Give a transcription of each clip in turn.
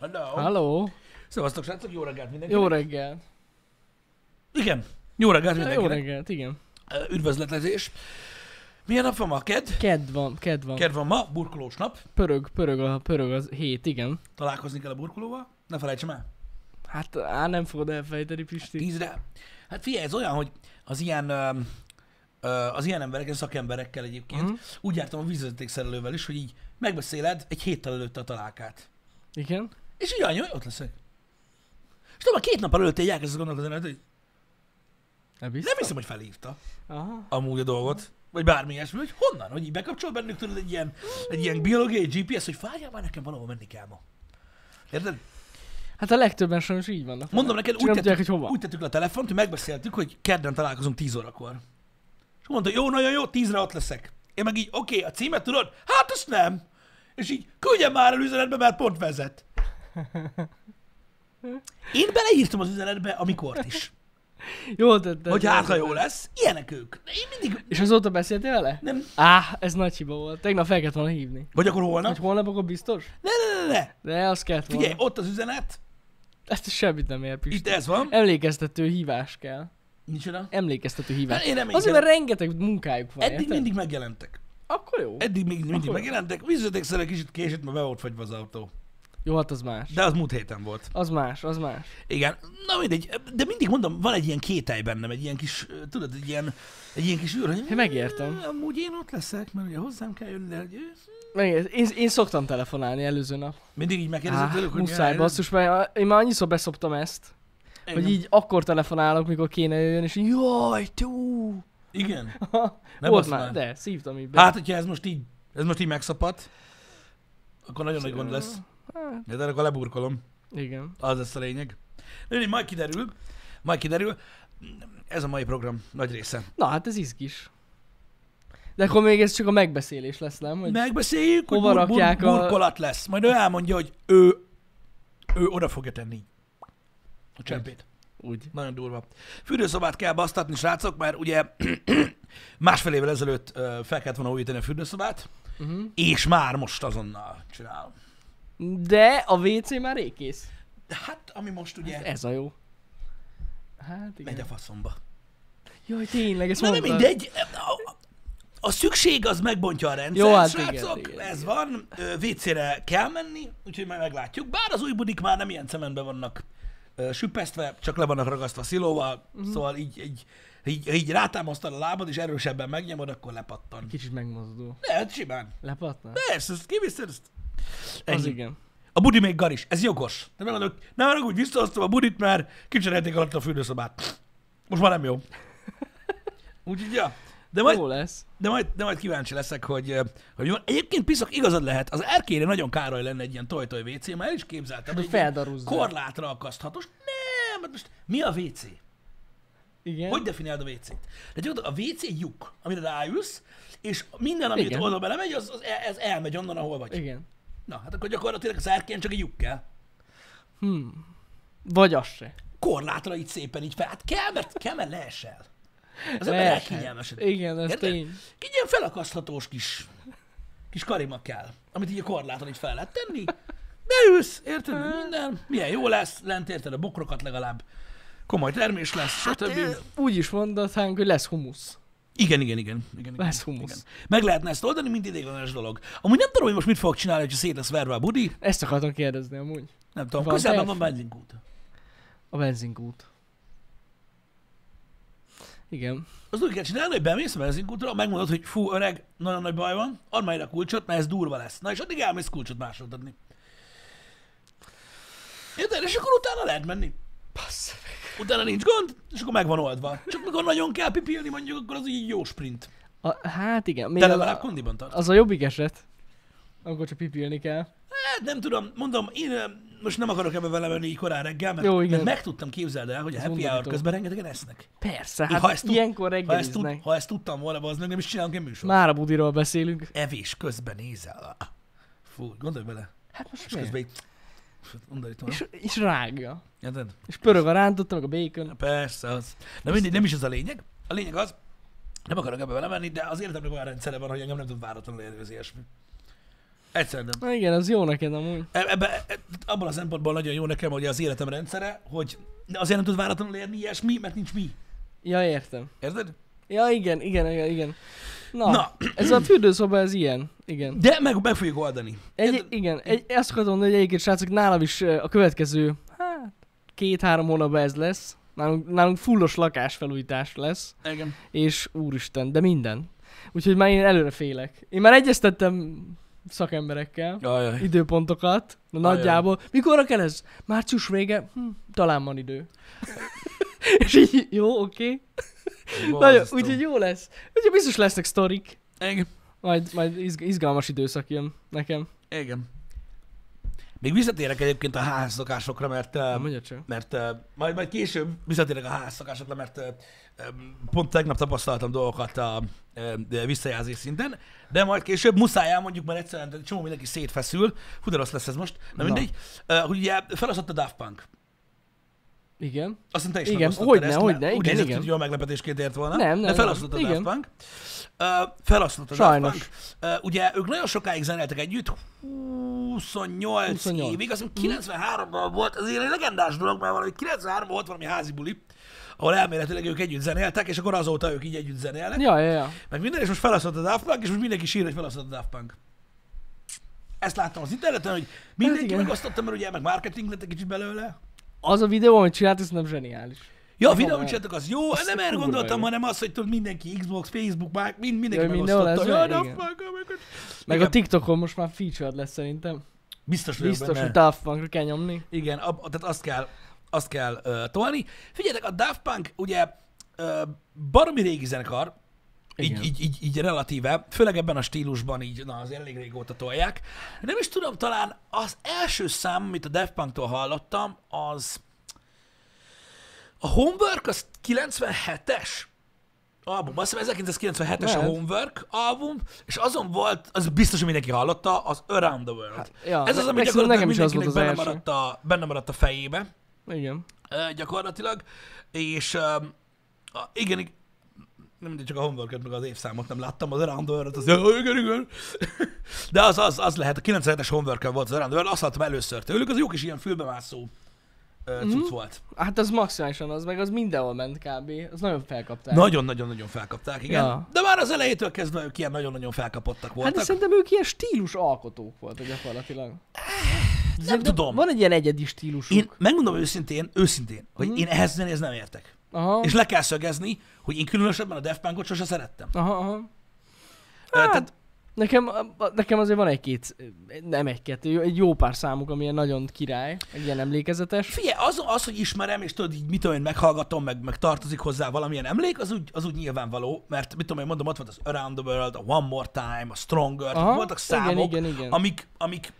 Hello. Halló? Szevasztok, srácok, jó reggelt mindenkinek. Jó reggelt. Igen, jó reggelt Ja, Jó mindenkinek. reggelt, igen. Ö, Üdvözletezés. Milyen nap van ma? Ked? Ked van, ked van. Ked van ma, burkolós nap. Pörög, pörög, a, pörög az hét, igen. Találkozni kell a burkolóval. Ne felejtsem el. Hát á, nem fogod elfejteni, Pisti. Tízre. Hát figyelj, ez olyan, hogy az ilyen ö, ö, az ilyen emberekkel, szakemberekkel egyébként, Mhm. úgy jártam a vízvezetékszerelővel is, hogy így megbeszéled egy héttel előtte a találkát. Igen. És így annyi, hogy ott leszek. És tudom, a két nap előtt így elkezdesz gondolkozni, rajta, hogy Nem nem hiszem, hogy felhívta. Aha. amúgy a dolgot, vagy bármi ilyesmi, hogy honnan, hogy így bekapcsol bennük tudod egy ilyen, egy ilyen biológiai GPS, hogy várjál már nekem valahol menni kell ma. Érted? Hát a legtöbben sajnos így vannak. Mondom neked, Csak nem úgy tudják, tettük, hogy hova. úgy tettük le a telefont, hogy megbeszéltük, hogy kedden találkozunk 10 órakor. És mondta, jó, nagyon jó, 10-re ott leszek. Én meg így, oké, a címet tudod? Hát azt nem. És így, küldjem már el üzenetbe, mert pont vezet. Én beleírtam az üzenetbe a mikort is. Jól tetted. Hogy jól hát, ha jó tetted. lesz, ilyenek ők. Én mindig, És azóta beszéltél vele? nem. Áh, ez nagy hiba volt. Tegnap fel kellett volna hívni. Vagy akkor Hogy holnap? holnap akkor biztos? Ne, ne, ne, ne. De az kellett volna. Figyelj, ott az üzenet, Ezt semmit nem ér, Pisti. itt ez van. Emlékeztető hívás kell. Nincs oda. Emlékeztető hívás. Hát én reménykedem. Azért, mert rengeteg munkájuk van, Eddig érted? mindig megjelentek. Akkor jó. Eddig még mindig Akkor- megjelentek. Visszatékszer egy kicsit késett, mert be volt fagyva az autó. Jó, hát az más. De az múlt héten volt. Az más, az más. Igen, na mindegy. De mindig mondom, van egy ilyen kételj bennem, egy ilyen kis, ö, tudod, egy ilyen, egy ilyen kis űr, hogy Én Hát megértem. "Mm, Amúgy én ott leszek, mert ugye hozzám kell jönni, de hogy ő-" Meg, én, én szoktam telefonálni előző nap. mindig így megkérdezett Á, tőlük, hogy muszáj, milyen- basszus, mert én már annyiszor beszoptam ezt, Igen. hogy így akkor telefonálok, mikor kéne jöjjön, és így jaj, tú! Igen. Nem Nem Volt volt már, már. de szívtam így be. Hát, hogyha ez most így, ez most így megszapad, akkor nagyon nagy gond lesz. De akkor leburkolom. Igen. Az lesz a lényeg. Mindegy, majd kiderül. Majd kiderül. Ez a mai program nagy része. Na hát ez izgis. De akkor még ez csak a megbeszélés lesz, nem? Hogy... Megbeszéljük, hogy hova bur- bur- rakják a- burkolat lesz. Majd ő elmondja, hogy ő, ő oda fogja tenni a csempét. Úgy. Nagyon durva. Fürdőszobát kell basztatni, srácok, mert ugye másfél évvel ezelőtt ö, fel kellett volna újítani a fürdőszobát, Uh-huh. és már most azonnal csinálom. De a WC már rég kész. De hát, ami most ugye Ez a jó. Hát igen. megy a faszomba. Jaj, tényleg, ezt Na nem mondtad. mindegy, a, a szükség az megbontja a rendszer, Jó, hát igen, srácok, igen, ez van, Ö, WC-re kell menni, úgyhogy majd meglátjuk. Bár az új budik már nem ilyen cementben vannak ö, süppesztve, csak le vannak ragasztva szilóval, Mhm. mm. szóval így, így, így, így rátámasztod a lábad, és erősebben megnyomod, akkor lepattan. Kicsit megmozdul. Lehet simán. Lepatna? Persze, ezt kiviszed, ezt. Az Ennyi. igen. A budi még garis, ez jogos. De nem adok, nem adok, úgy visszahoztam a budit, mert kicserélték alatt a fürdőszobát. Most már nem jó. Úgyhogy, ja. De majd, Jó lesz. de majd, de majd kíváncsi leszek, hogy, eh, hogy mi van. Egyébként piszok igazad lehet, az erkére nagyon károly lenne egy ilyen toj-toj WC, már el is képzeltem, Hogy egy ilyen feldarúzzák. korlátra akaszthatós. Nem, hát most mi a WC? Igen. Hogy definiálod a WC-t? De gyakorlatilag a WC egy lyuk, amire ráülsz, és minden, amit Igen. oda belemegy, az, e, az, el- ez elmegy onnan, ahol vagy. Igen. Na, hát akkor gyakorlatilag az erkén csak egy lyuk kell. Vagy az se. Korlátra így szépen így fel. Hát kell, mert, kell, mert leesel. Az ember Lehet. elkényelmesedik. Igen, ez Érted? tény. Egy ilyen felakaszthatós kis, kis karima kell, amit így a korláton így fel lehet tenni. Beülsz, érted? meg Minden. Milyen jó lesz, lent érted a bokrokat legalább. Komoly termés lesz, stb. Hát, Ö, Úgy is mondhatnánk, hogy lesz humusz. Igen, igen, igen. igen, igen, Lesz humusz. igen. Meg lehetne ezt oldani, mint ideiglenes dolog. Amúgy nem tudom, hogy most mit fogok csinálni, hogyha szét lesz verve a budi. Ezt akartam kérdezni amúgy. Nem tudom, Van közelben terv? van benzinkút. A benzinkút. Igen. Azt úgy kell csinálni, hogy bemész a benzinkútra, megmondod, hogy fú, öreg, nagyon nagy baj van, add majd a kulcsot, mert ez durva lesz. Na és addig elmész kulcsot másnak adni. Érted? És akkor utána lehet menni. Passz. Utána nincs gond, és akkor meg van oldva. Csak mikor nagyon kell pipilni, mondjuk, akkor az így jó sprint. A, hát igen. Még De az, legalább a, kondiban tart. az a jobbik eset. Akkor csak pipilni kell. Hát nem tudom, mondom, én eh, most nem akarok ebbe vele menni így korán reggel, mert, Jó, igen. mert meg tudtam képzeld el, hogy a Ez happy hour undorító. közben rengetegen esznek. Persze, Én hát ha ezt tud- ilyenkor Ha ezt, tud, reggeliznek. ha ezt tudtam volna, az meg nem is csinálunk egy műsort. Már a budiról beszélünk. Evés közben nézel. Fú, gondolj bele. Hát most És közben miért? így... Undorítom. És, és rágja. Érted? És pörög a rántotta, meg a bacon. Persze az. Na mindig nem is ez a lényeg. A lényeg az, nem akarok ebbe belemenni, de az életemnek olyan rendszere van, hogy engem nem tud váratlanul érni az ilyesmi. Egyszerűen nem. Na igen, az jó neked amúgy. E- Ebbe, e- abban a szempontból nagyon jó nekem, hogy az életem rendszere, hogy azért nem tud váratlanul érni ilyesmi, mert nincs mi. Ja, értem. Érted? Ja, igen, igen, igen, igen. Na, Na. Na. ez a fürdőszoba, ez ilyen. Igen. De meg, meg fogjuk oldani. Egy, Érted? igen, egy, azt akartam mondani, hogy egyébként srácok, nálam is ö, a következő hát, két-három hónapban ez lesz. Nálunk, nálunk fullos lakásfelújítás lesz, Igen. és úristen, de minden. Úgyhogy már én előre félek. Én már egyeztettem szakemberekkel Ajaj. időpontokat, na Ajaj. nagyjából. Mikorra kell ez? Március vége? Hm, talán van idő. és így, jó, oké. Okay. Borzasztó. Úgyhogy jó lesz. Úgyhogy biztos lesznek sztorik. Igen. Majd, majd izg- izgalmas időszak jön nekem. Igen. Még visszatérek egyébként a házszokásokra, mert, um, Nem ö, mondja csak. mert ö, majd, majd később visszatérek a házszokásokra, mert ö, ö, pont tegnap tapasztaltam dolgokat a ö, ö, visszajelzés szinten, de majd később muszáj elmondjuk, mert egyszerűen egy csomó mindenki szétfeszül. Hú, de rossz lesz ez most. Na, Na. mindegy. Ö, Hogy ugye felosztott a Daft Punk. Igen. Azt hiszem, te is Igen, megosztottad hogyne, ezt, hogyne, mert Úgy igen, nézett, igen. hogy jól meglepetésként ért volna. Nem, nem, De nem. felosztott a Daft Igen. Punk. Uh, felosztott a Sajnos. Daft Punk. Uh, ugye ők nagyon sokáig zeneltek együtt, 28, 28. évig, azt hiszem 93-ban volt, ez egy legendás dolog, mert valami 93-ban volt valami házi buli, ahol elméletileg ők együtt zenéltek, és akkor azóta ők így együtt zenélnek. Ja, ja, ja. Meg minden, és most felosztott a Daft Punk, és most mindenki sír, hogy felosztott a Daft Punk. Ezt láttam az interneten, hogy mindenki igen. hát megosztotta, mert ugye meg marketing lett egy kicsit belőle. Az a videó, amit csinált, ez nem zeniális. Ja, a Aha, videó, már. amit csináltak, az jó, Azt nem a erre kurva gondoltam, jó. hanem az, hogy tudod, mindenki Xbox, Facebook, már mind, mindenki Jaj, mindenhol megosztotta. Jaj, ez van, de igen. fuck, oh my God. Meg Igen. a TikTokon most már featured lesz szerintem. Biztos vagyok Biztos, benne. hogy Daft Punkra kell nyomni. Igen, ab, tehát azt kell, azt kell uh, tolni. Figyeljetek, a Daft Punk ugye uh, baromi régi zenekar, Igen. így, így, így, így relatíve, főleg ebben a stílusban így, na azért elég régóta tolják. Nem is tudom, talán az első szám, amit a Daft Punktól hallottam, az a Homework, az 97-es album. Azt hiszem 1997-es a Lehet. Homework album, és azon volt, az biztos, hogy mindenki hallotta, az Around the World. Hát, ja, Ez az, ami meg gyakorlatilag nekem szerintem nekem is az volt mindenkinek az benne, első. maradt a, benne maradt a fejébe Igen. ö, gyakorlatilag, és öm, a, igen, ig- nem mindegy, csak a homework meg az évszámot nem láttam, az Around the World-ot, az "Ja, igen, igen. De az, az, az lehet, a 97-es homework volt az Around the World, azt láttam először tőlük, az jó kis ilyen fülbemászó ö, cucc volt. Hát az maximálisan az, meg az mindenhol ment kb. Az nagyon felkapták. Nagyon-nagyon-nagyon felkapták, igen. Ja. De már az elejétől kezdve ők ilyen nagyon-nagyon felkapottak Hát voltak. de szerintem ők ilyen stílus alkotók voltak gyakorlatilag. nem tudom. Van egy ilyen egyedi stílusuk. Én megmondom őszintén, őszintén, hogy Mhm. én ehhez zenéhez nem értek. Aha. És le kell szögezni, hogy én különösebben a Def Punkot sose szerettem. Aha, aha. Ö, Hát, tehát- nekem, a- a- nekem azért van egy-két, nem egy-kettő, egy jó pár számuk, ami ilyen nagyon király, egy ilyen emlékezetes. Figyelj, az, az, hogy ismerem, és tudod, így mit tudom én, meghallgatom, meg, meg tartozik hozzá valamilyen emlék, az úgy, az úgy nyilvánvaló, mert mit tudom én, mondom, ott volt az Around the World, a One More Time, a Stronger, Aha, Aha, Hát, voltak számok, igen, igen. amik, amik,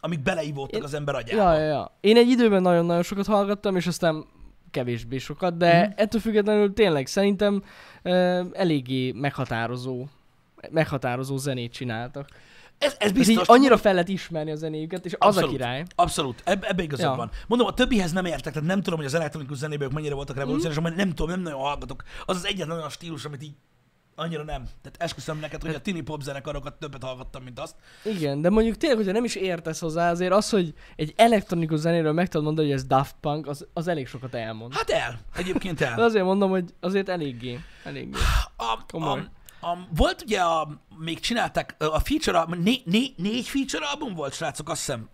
amik beleívódtak Én- az ember agyába. Ja, ja, ja. Én egy időben nagyon-nagyon sokat hallgattam, és aztán kevésbé sokat, de Mhm. mm. ettől függetlenül tényleg szerintem ö, eléggé meghatározó meghatározó zenét csináltak. Ez, ez Biztos, így biztos. annyira fel lehet ismerni a zenéjüket, és az a Abszolút. király. Abszolút, Eb- ebbe igazad Ja. van. Mondom, a többihez nem értek, tehát nem tudom, hogy az elektronikus zenében ők mennyire voltak revolucionárisak, Mhm. mert nem tudom, nem nagyon hallgatok. Az az egyetlen olyan stílus, amit így annyira nem. Tehát esküszöm neked, hogy a tini pop zenekarokat többet hallgattam, mint azt. Igen, de mondjuk tényleg, hogyha nem is értesz hozzá, azért az, hogy egy elektronikus zenéről meg tudod mondani, hogy ez Daft Punk, az, az elég sokat elmond. Hát el, egyébként el. De azért mondom, hogy azért eléggé, eléggé. A, Komoly. A, a, volt ugye, a, még csinálták a feature album, né, né, négy feature album volt, srácok, azt hiszem.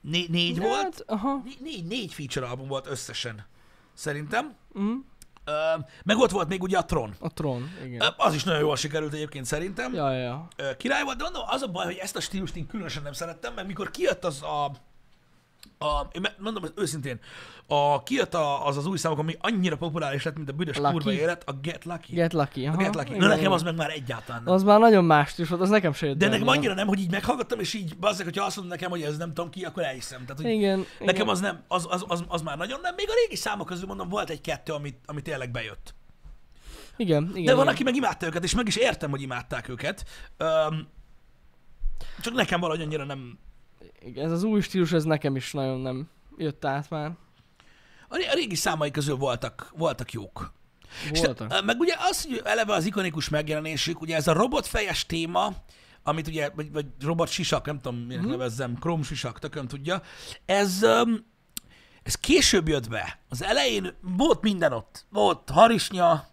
Né, négy volt? Hát, aha. Né, négy, négy feature album volt összesen, szerintem. Mm, Ö, meg ott volt még ugye a Tron. a Tron, igen. Ö, Az is nagyon jól sikerült egyébként szerintem. Ja, ja. Ö, Király volt, de mondom, az a baj, hogy ezt a stílust én különösen nem szerettem, mert mikor kijött az a a, én me- mondom ezt őszintén, a, kijött a, az az új számok, ami annyira populáris lett, mint a büdös Lucky. kurva élet, a Get Lucky. Get Lucky, aha. a Get Lucky. Na igen, nekem igen. az meg már egyáltalán nem. Az már nagyon más is volt, az nekem se jött De be nekem annyira. annyira nem, hogy így meghallgattam, és így bazzeg, hogyha azt mondod nekem, hogy ez nem tudom ki, akkor elhiszem. Tehát, hogy Igen, nekem igen. az nem, az, az, az, az, már nagyon nem. Még a régi számok közül mondom, volt egy-kettő, ami, ami tényleg bejött. Igen, igen. De van, igen. aki meg imádta őket, és meg is értem, hogy imádták őket. Öm, csak nekem valahogy annyira nem... Igen, Ez az új stílus, ez nekem is nagyon nem jött át már. A ré- a régi számai közül voltak, voltak jók. És te- Voltak. Meg ugye az, hogy eleve az ikonikus megjelenésük, ugye ez a robotfejes téma, amit ugye, vagy, vagy robot sisak, nem tudom, Mhm. minek mm. nevezzem, krom sisak, tököm tudja. Ez, öm, ez később jött be. Az elején volt minden ott. Volt harisnya,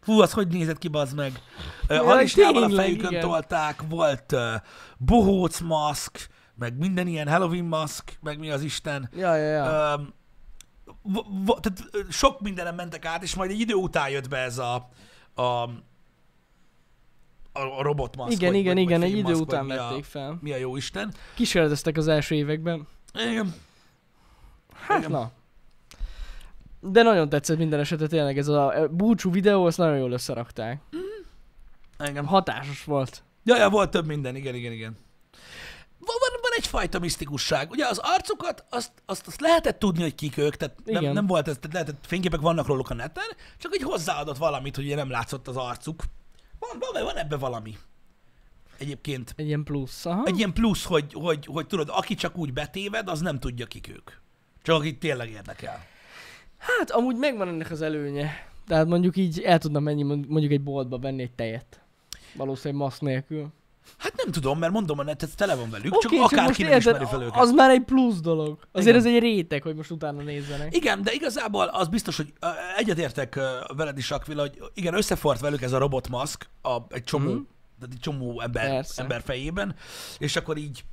fú, az hogy nézett ki, bazd meg. Ö, Jaj, Harisnyával a tényleg, fejükön igen. tolták, volt ö, bohóc maszk, meg minden ilyen Halloween maszk, meg mi az Isten. Ja, ja, ja. Öm, v- v- tehát ö, sok mindenen mentek át, és majd egy idő után jött be ez a, a, a, a robotmaszk. igen, vagy- igen, vagy- igen, vagy egy idő fénymaszk, után vagy mi a- vették fel. Mi a jó Isten. Kísérleteztek az első években. Igen. Hát Igen. na. De nagyon tetszett minden esetre tényleg ez a e, búcsú videó, azt nagyon jól összerakták. Mm. Engem. Hatásos volt. Ja, ja, volt több minden, igen, igen, igen. Van, van, van egyfajta misztikusság. Ugye az arcukat, azt, azt, azt lehetett tudni, hogy kik ők, tehát nem, Igen. nem volt ez, tehát lehetett, fényképek vannak róluk a neten, csak így hozzáadott valamit, hogy ugye nem látszott az arcuk. Van, van, van ebbe valami. Egyébként. Egy ilyen plusz. Aha. Egy ilyen plusz, hogy, hogy, hogy tudod, aki csak úgy betéved, az nem tudja, kik ők. Csak akit tényleg érdekel. Hát amúgy megvan ennek az előnye. Tehát mondjuk így el tudna menni mond- mondjuk egy boltba venni egy tejet. Valószínűleg maszk nélkül. Hát nem tudom, mert mondom, a net ez tele van velük, Oké, okay, csak akárki nem érted, ismeri fel őket. Az már egy plusz dolog. Azért Igen. ez egy réteg, hogy most utána nézzenek. Igen, de igazából az biztos, hogy ö, egyetértek ö, veled is, Akvila, hogy igen, összefort velük ez a robotmaszk a, egy csomó, mm. tehát egy csomó ember, Persze. ember fejében, és akkor így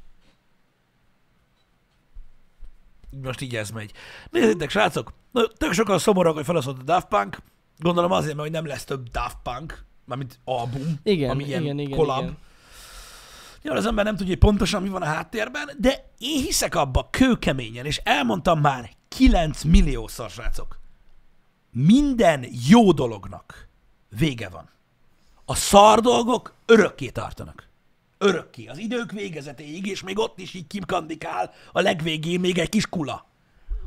így most így ez megy. Nézzétek, srácok, na, tök sokan szomorúak, hogy feloszott a Daft Punk, gondolom azért, mert hogy nem lesz több Daft Punk, mármint album, Igen, ami ilyen igen, igen, collab. igen. Nyilván az ember nem tudja, hogy pontosan mi van a háttérben, de én hiszek abba kőkeményen, és elmondtam már 9 milliószor, srácok. Minden jó dolognak vége van. A szar dolgok örökké tartanak. Örökké. Az idők végezetéig, és még ott is így kimkandikál, a legvégén még egy kis kula.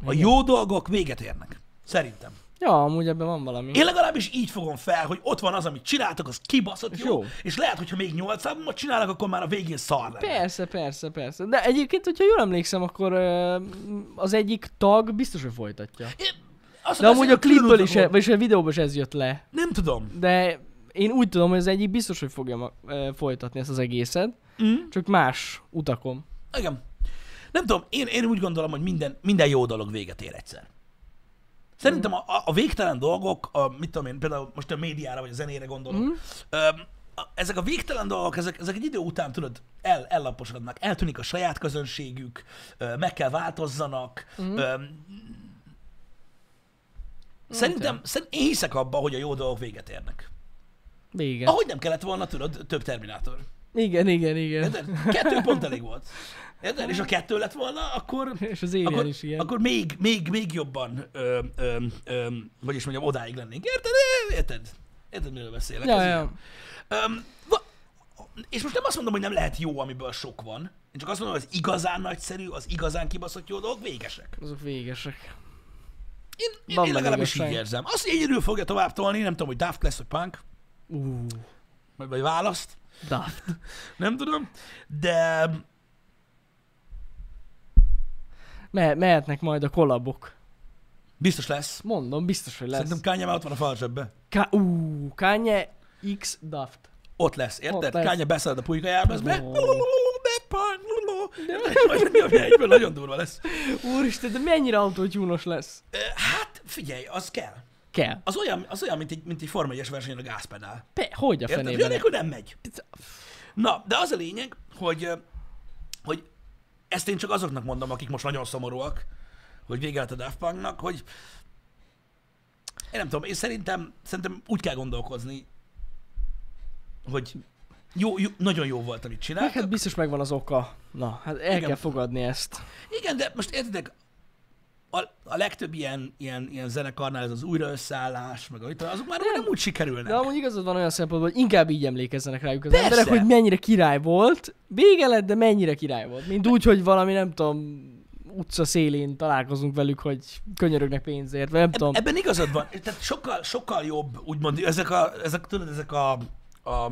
A jó dolgok véget érnek. Szerintem. Ja, amúgy ebben van valami. Én legalábbis így fogom fel, hogy ott van az, amit csináltak, az kibaszott És jó, jó. és lehet, hogyha még nyolc albumot csinálnak, akkor már a végén szar lenne. Persze, persze, persze. De egyébként, hogyha jól emlékszem, akkor ö, az egyik tag biztos, hogy folytatja. Én- Azt De mondta, amúgy hogy a klipből is, különösen- vagyis a videóban is ez jött le. Nem tudom. De én úgy tudom, hogy az egyik biztos, hogy fogja ma- ö, folytatni ezt az egészet. Mm. Csak más utakon. Igen. Nem tudom, én, én úgy gondolom, hogy minden, minden jó dolog véget ér egyszer. Szerintem a, a- a végtelen dolgok, a, mit tudom én, például most a médiára vagy a zenére gondolok, Mhm. mm. öm, a, ezek a végtelen dolgok, ezek, ezek egy idő után, tudod, el, ellaposodnak, eltűnik a saját közönségük, ö, meg kell változzanak. Mm. Mhm. Öm, szerintem, szerintem, én hiszek abba, hogy a jó dolgok véget érnek. Vége. Ahogy nem kellett volna, tudod, több Terminátor. Igen, igen, igen. Érted? Kettő pont elég volt. Érted? És ha kettő lett volna, akkor... És az Alien Akkor, is ilyen. akkor még, még, még jobban, ö, ö, ö, vagyis mondjam, odáig lennénk. Érted? Érted? Érted, miről beszélek? ja, Ez ja. ilyen. Öm, va- és most nem azt mondom, hogy nem lehet jó, amiből sok van. Én csak azt mondom, hogy az igazán nagyszerű, az igazán kibaszott jó dolgok végesek. Azok végesek. Én, én, Van én benne legalábbis így igazság. érzem. Azt, hogy egyedül fogja tovább tolni, nem tudom, hogy Daft lesz, vagy Punk, Ú, vagy, vagy választ. Daft. Nem tudom. De Me- mehetnek majd a kolabok. biztos lesz. Mondom, biztos, hogy lesz. lesz. Szerintem Kanye már ott van a falzsebben. Ka- ú, Kanye X Daft. Ott lesz, érted? Ott lesz. Kánya beszállt a pulykájába, ez meg... Ó. Majd nyomja egyből, nagyon durva lesz. Úristen, de mennyire autótyúnos lesz? Ö, Hát figyelj, az kell. Kell. Az olyan, az olyan mint, egy, mint egy Forma 1-es versenyen a gázpedál. Pe- hogy a Érted? fenében? Olyan ne- nélkül nem megy. Na, de az a lényeg, hogy, ö, hogy ezt én csak azoknak mondom, akik most nagyon szomorúak, hogy vége lett a Daft Punknak, hogy én nem tudom, én szerintem, szerintem úgy kell gondolkozni, hogy jó, jó, nagyon jó volt, amit Meg csináltak. hát biztos megvan az oka. Na, hát el Igen. kell fogadni ezt. Igen, de most értedek, a, a legtöbb ilyen, ilyen, ilyen zenekarnál ez az újraösszállás, meg amit, azok már nem, nem úgy sikerülnek. De amúgy igazad van olyan szempontból, hogy inkább így emlékezzenek rájuk az Persze. emberek, hogy mennyire király volt. Vége lett, de mennyire király volt. Mint úgy, hogy valami, nem tudom, utca szélén találkozunk velük, hogy könyörögnek pénzért, vagy nem tudom. Eb- ebben igazad van. Tehát sokkal, sokkal jobb, úgymond, ezek a, ezek, tudod, ezek a, a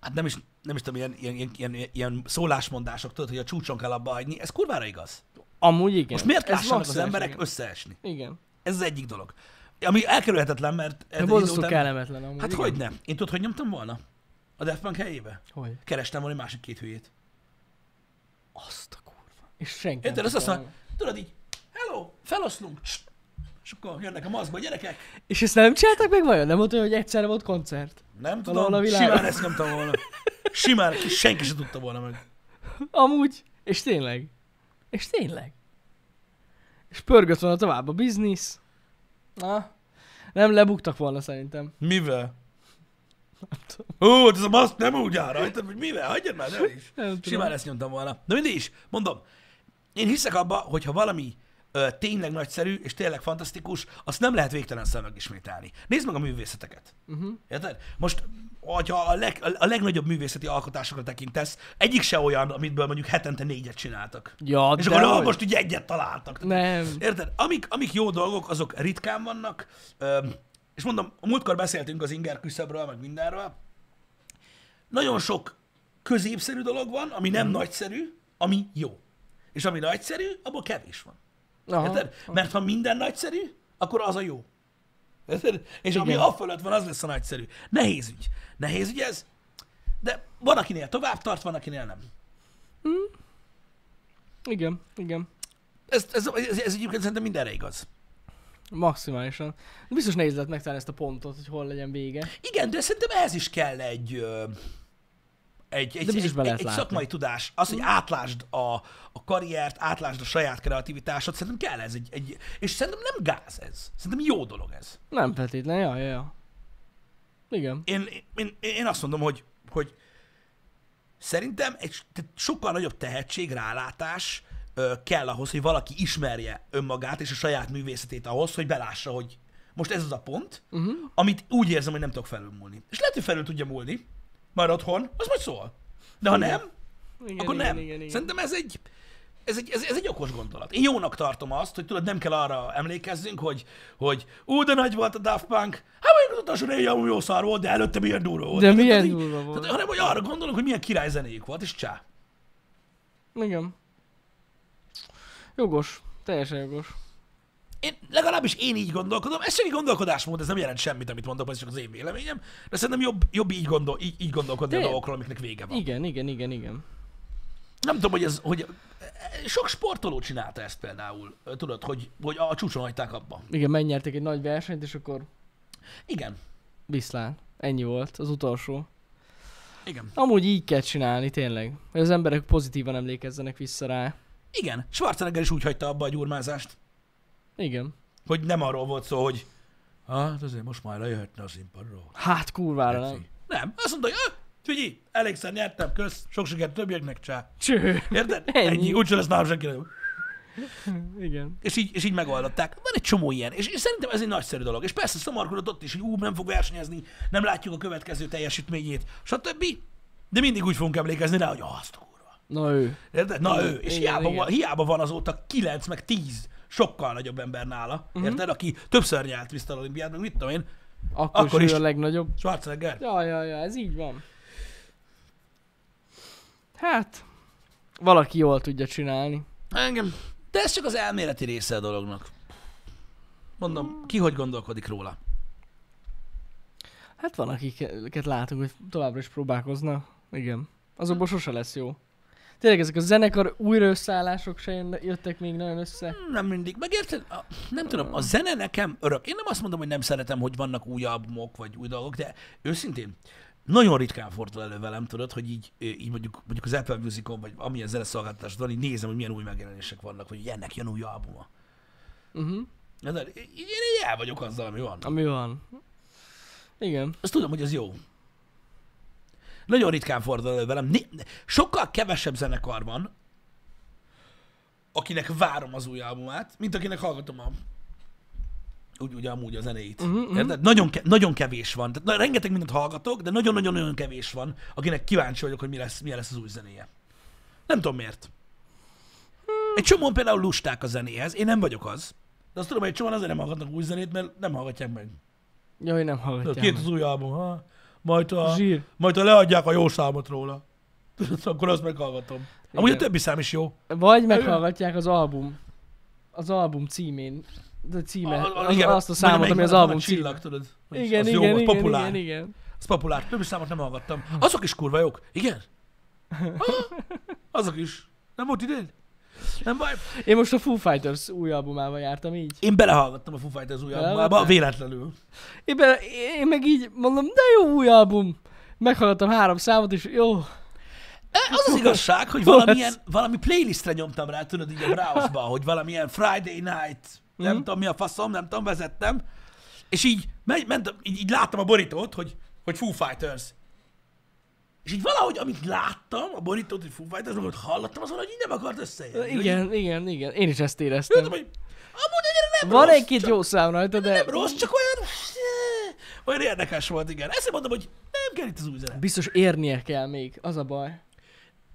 hát nem is, nem is tudom, ilyen, ilyen, ilyen, ilyen, ilyen szólásmondások, tudod, hogy a csúcson kell abba hagyni, ez kurvára igaz. Amúgy igen. Most miért Ez lássanak az valószínűleg emberek igen. összeesni? Igen. Ez az egyik dolog. Ami elkerülhetetlen, mert... ez De egy idő borzasztó után- kellemetlen amúgy. Hát igen. hogy nem? Én tudod, hogy nyomtam volna? a Daft Punk helyébe. Hogy? Kerestem volna egy másik két hülyét. Azt a kurva. És senki Érted? Azt azt tudta mondja, tudod így, hello, feloszlunk, Cs. és akkor jönnek a maszkba a gyerekek. meg. És ezt nem csináltak meg vajon? Nem volt olyan, hogy egyszerre volt koncert? Nem Valahol a tudom, világon. simán ezt nyomta volna. Simán, ki- senki se tudta volna meg. Amúgy. És tényleg. És tényleg. És pörgött volna tovább a biznisz. Na. Nem lebuktak volna szerintem. Mivel? Nem tudom. Ó, hát ez a maszk nem úgy áll rajta, hogy mivel? Hagyjad már, ne is. Nem tudom. Simán ezt nyomtam volna. De mindig is, mondom, én hiszek abba, hogy ha valami ö, tényleg nagyszerű és tényleg fantasztikus, azt nem lehet végtelen szem megismételni. Nézd meg a művészeteket. Mhm. Uh-huh. Érted? Most, hogyha a, leg, a legnagyobb művészeti alkotásokra tekintesz, egyik se olyan, amitből mondjuk hetente négyet csináltak. Ja, És de akkor na, hogy? most ugye egyet találtak. Nem. Érted? Amik, amik jó dolgok, azok ritkán vannak. Öm, és mondom, a múltkor beszéltünk az inger küszöbről, meg mindenről. Nagyon sok középszerű dolog van, ami nem nagyszerű, ami jó. És ami nagyszerű, abból kevés van. Aha. Érted? Mert ha minden nagyszerű, akkor az a jó. Érted? És ami Igen. a fölött van, az lesz a nagyszerű. Nehéz ügy. Nehéz ügy ez, de van, akinél tovább tart, van, akinél nem. Igen, igen. Ez, ez, ez, ez egyébként szerintem mindenre igaz. Maximálisan. Biztos nehéz lett megtalálni ezt a pontot, hogy hol legyen vége. Igen, de szerintem ehhez is kell egy, ö, egy, egy, biztos egy, be egy, lehet egy látni. szakmai tudás. Az, hogy átlásd a, a karriert, átlásd a saját kreativitásod, szerintem kell ez. Egy, egy, és szerintem nem gáz ez. Szerintem jó dolog ez. Nem feltétlen, ja, ja, ja. Igen. Én, én, én azt mondom, hogy, hogy szerintem egy tehát sokkal nagyobb tehetség, rálátás ö, kell ahhoz, hogy valaki ismerje önmagát és a saját művészetét ahhoz, hogy belássa, hogy most ez az a pont, uh-huh. amit úgy érzem, hogy nem tudok felülmúlni. És lehet, hogy felül tudja múlni, majd otthon, az majd szól. De ha nem, igen akkor igen, nem. Igen, igen, Szerintem ez egy, ez egy, ez, ez egy okos gondolat. Én jónak tartom azt, hogy tudod, nem kell arra emlékezzünk, hogy, hogy ú, de nagy volt a Daft Punk, hát mondjuk az utolsó négy album jó szar volt, de előtte milyen durva volt. De Tehát, milyen így- durva volt. Tehát, hanem, hogy arra gondolunk, hogy milyen király zenéjük volt, és csá. Igen. Jogos. Teljesen jogos. Én, legalábbis én így gondolkodom, ez csak egy gondolkodásmód, ez nem jelent semmit, amit mondok, ez csak az én véleményem, de szerintem jobb, jobb így, gondol, így, így gondolkodni a De- dolgokról, amiknek vége van. Igen, igen, igen, igen. Nem tudom, hogy ez, hogy sok sportoló csinálta ezt például, tudod, hogy, hogy a csúcson hagyták abba. Igen, megnyerték egy nagy versenyt, és akkor Igen, viszlán. Ennyi volt, az utolsó. igen. Amúgy így kell csinálni, tényleg. Hogy az emberek pozitívan emlékezzenek vissza rá. Igen, Schwarzenegger is úgy hagyta abba a gyurmázást, Igen. hogy nem arról volt szó, hogy hát azért most már lejöhetne a színpadról. Hát kurvára nem. Nem, azt mondta, hogy "Ö, figyelj, elégszer nyertem, kösz, sok sikert többieknek, csá. Cső. Érted? Ennyi. Ennyi, úgyse lesz nálam senki. Igen. És így, és így megoldották. Van egy csomó ilyen, és, és szerintem ez egy nagyszerű dolog. És persze szamarkodott ott is, hogy ú, nem fog versenyezni, nem látjuk a következő teljesítményét, stb. De mindig úgy fogunk emlékezni rá, hogy azt a kurva. Na ő. Érted? Na ő, és Igen, hiába, igen. Van, hiába van azóta 9 meg 10 sokkal nagyobb ember nála, Mhm. uh-huh. érted? Aki többször nyert vissza az olimpiát, meg mit tudom én, Akkor, Akkor akkor is, is. ő a legnagyobb. Schwarzenegger. Ja, ja, ja, ez így van. Hát, valaki jól tudja csinálni. Engem. De ez csak az elméleti része a dolognak. Mondom, ki hogy gondolkodik róla. Hát van, akiket látunk, hogy továbbra is próbálkoznak. Igen. Azokból sose lesz jó. Tényleg ezek a zenekar újraösszállások se jön- jöttek még nagyon össze. Nem mindig. Megérted? A, nem tudom, a zene nekem örök. Én nem azt mondom, hogy nem szeretem, hogy vannak új albumok, vagy új dolgok, de őszintén, nagyon ritkán fordul elő velem, tudod, hogy így, ö, így mondjuk, mondjuk az Apple Music-on, vagy amilyen zeneszolgáltatás van, így nézem, hogy milyen új megjelenések vannak, hogy ennek jön új albuma. Uh-huh. Érted? Így én így el vagyok azzal, ami van. Ami van. Igen. Azt tudom, hogy az jó. Nagyon ritkán fordul elő velem. Ni- Sokkal kevesebb zenekar van, akinek várom az új albumát, mint akinek hallgatom a úgy, úgy amúgy a zenéit. Mhm, Uh-huh, mhm. Érted? Nagyon, ke- nagyon kevés van. Tehát na, rengeteg mindent hallgatok, de nagyon-nagyon-nagyon kevés van, akinek kíváncsi vagyok, hogy mi lesz, mi lesz az új zenéje. Nem tudom miért. Egy csomóan például lusták a zenéhez, én nem vagyok az, de azt tudom, hogy egy csomóan azért nem hallgatnak új zenét, mert nem hallgatják meg. Jaj, hogy nem Tudod, hallgatják. Két meg. az új album, ha? Majd a, Zsír. majd a leadják a jó számot róla. Tudod, akkor azt meghallgatom. Amúgy a Igen. többi szám is jó. Vagy meghallgatják az album. Az album címén. De címe. az, azt a számot, mondja, ami az megvan- album van a címe. csillag, tudod. Az- Igen, az igen, jó, az igen, populár. igen, igen. Ez populár. Többi számot nem hallgattam. Azok is kurva jók. Igen? Ah, azok is. Nem volt idén? Nem baj. Én most a Foo Fighters új albumával jártam így. Én belehallgattam a Foo Fighters új Belehallgattál? albumába, véletlenül. Én, be, én meg így mondom, de jó új album. Meghallgattam három számot, és jó. Az az igazság, hogy Hol lesz? valamilyen, valami playlistre nyomtam rá, tudod, így a browse hogy valamilyen Friday night, nem Mhm. tudom mi a faszom, nem tudom, vezettem, és így, megy, mentem, így, így láttam a borítót, hogy, hogy Foo Fighters. És így valahogy, amit láttam, a borítót, hogy Foo Fighters, meg amit hallottam, az valahogy így nem akart összejönni. Hogy így- Igen, igen, igen. Én is ezt Jöttem, éreztem. hogy amúgy annyira nem Van rossz, egy-két csak jó szám rajta, de Nem rossz, csak olyan... eh, Olyan érdekes volt, igen. Ezt mondom, hogy nem kell itt az új zene. biztos érnie kell még. Az a baj.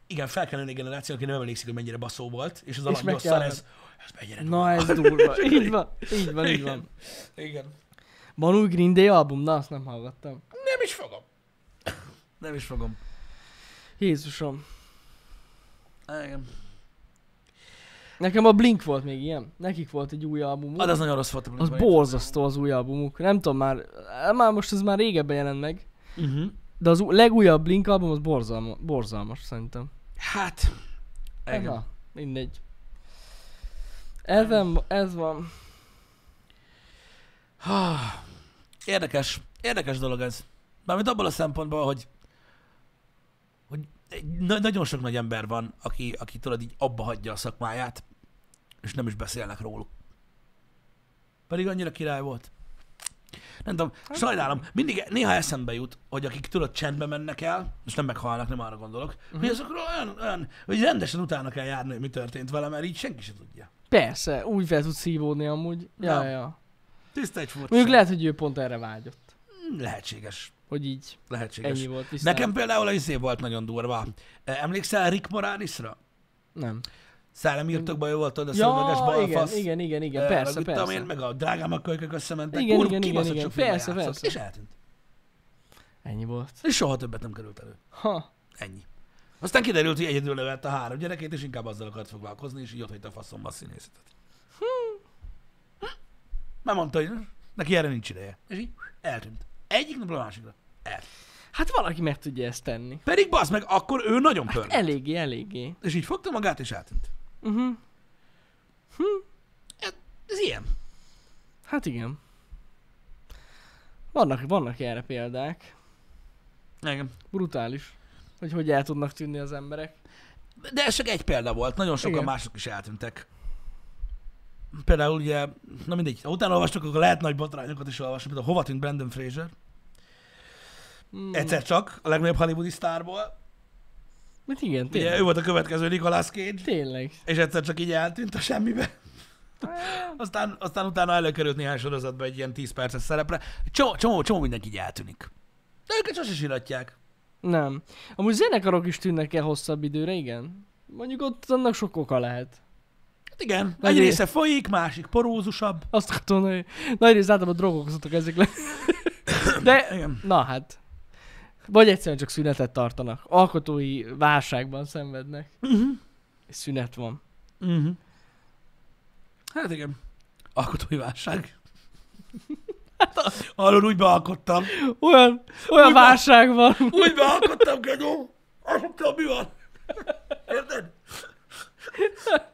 Igen, fel kell jönni egy generáció, aki nem emlékszik, hogy mennyire baszó volt, és az És meg alanydosszal kell- ez... Ez mennyire Na ez durva. Így van, így van, így van. Igen. Van új Green Day album? Na, azt nem hallgattam. Nem is fogom. Nem is fogom. Jézusom. Igen. Nekem a Blink volt még ilyen. Nekik volt egy új albumuk. Az, az nagyon rossz volt. Az borzasztó az új albumuk. Nem tudom már, á, már most ez már régebben jelent meg. Uh-huh. De az ú- legújabb Blink album az borzalma, borzalmas szerintem. Hát... Hát Igen. Na, mindegy. Ezen, ez van. Ha, Érdekes. Érdekes dolog ez. Mármint abból a szempontból, hogy, hogy egy- na- nagyon sok nagy ember van, aki, aki tudod így abba hagyja a szakmáját, és nem is beszélnek róluk. Pedig annyira király volt. Nem tudom, sajnálom, mindig néha eszembe jut, hogy akik tudod csendbe mennek el, és nem meghalnak, nem arra gondolok, uh-huh. hogy azokról olyan, olyan, hogy rendesen utána kell járni, hogy mi történt vele, mert így senki se tudja. Persze, úgy fel tudsz szívódni amúgy. Ja, Na. ja, ja. Tiszta egy furcsa. Mondjuk lehet, hogy ő pont erre vágyott. Lehetséges. Hogy így Lehetséges. ennyi volt viszont. Nekem például az izé volt nagyon durva. E, Emlékszel Rick Moranisra? Nem. Szellemírtokban jó volt, tudod, a szöveges Ja, igen, balfasz. igen, igen, igen, Ö, persze, meg mit tudom persze. Én, meg a drágám a kölykök összementek. Igen, Kurva igen, igen, kibaszott igen, sok filmben persze, játszott, persze. És eltűnt. Ennyi volt. És soha többet nem került elő. Ha. Ennyi. Aztán kiderült, hogy egyedül nevelt a három gyerekét, és inkább azzal akart foglalkozni, és így ott hagyta a faszomba a színészetet. Hm. Már mondta, hogy neki erre nincs ideje. És így eltűnt. Egyik napról a másikra. Eltűnt. Hát valaki meg tudja ezt tenni. Hát Pedig basz meg, akkor ő nagyon pörgött. Eléggé, eléggé. És így fogta magát, és eltűnt. Uh-huh. Ez, ez ilyen. Hát igen. Vannak, vannak erre példák. Igen. Brutális. Hogy hogy el tudnak tűnni az emberek. De ez csak egy példa volt, nagyon sokan Igen. mások is eltűntek. Például ugye, na mindegy, ha utána olvastok, akkor lehet nagy botrányokat is olvasni, például hova tűnt Brandon Fraser? Mm. Egyszer csak, a legnagyobb hollywoodi sztárból. Mert Hát igen, Ugye tényleg. ő volt a következő Nicolas Cage, Tényleg. és egyszer csak így eltűnt a semmibe. Aztán, aztán utána előkerült néhány sorozatba egy ilyen 10 perces szerepre. Csomó, csomó, csomó mindenki így eltűnik. De őket sose síratják. Nem. Amúgy zenekarok is tűnnek el hosszabb időre, igen. Mondjuk ott annak sok oka lehet. Hát igen, Nagy egy rész- része folyik, másik porózusabb. Azt akartam, hogy nagy részt általában drogok szoktak ezek le. De, E, Igen. na hát. Vagy egyszerűen csak szünetet tartanak. Alkotói válságban szenvednek. Uh-huh. És szünet van. Uh-huh. Hát igen. Alkotói válság. Hát, Arról úgy bealkottam. Olyan, olyan Úgy van. válság van. Úgy bealkottam, Gedó. Azt mondtam, mi van. Érted?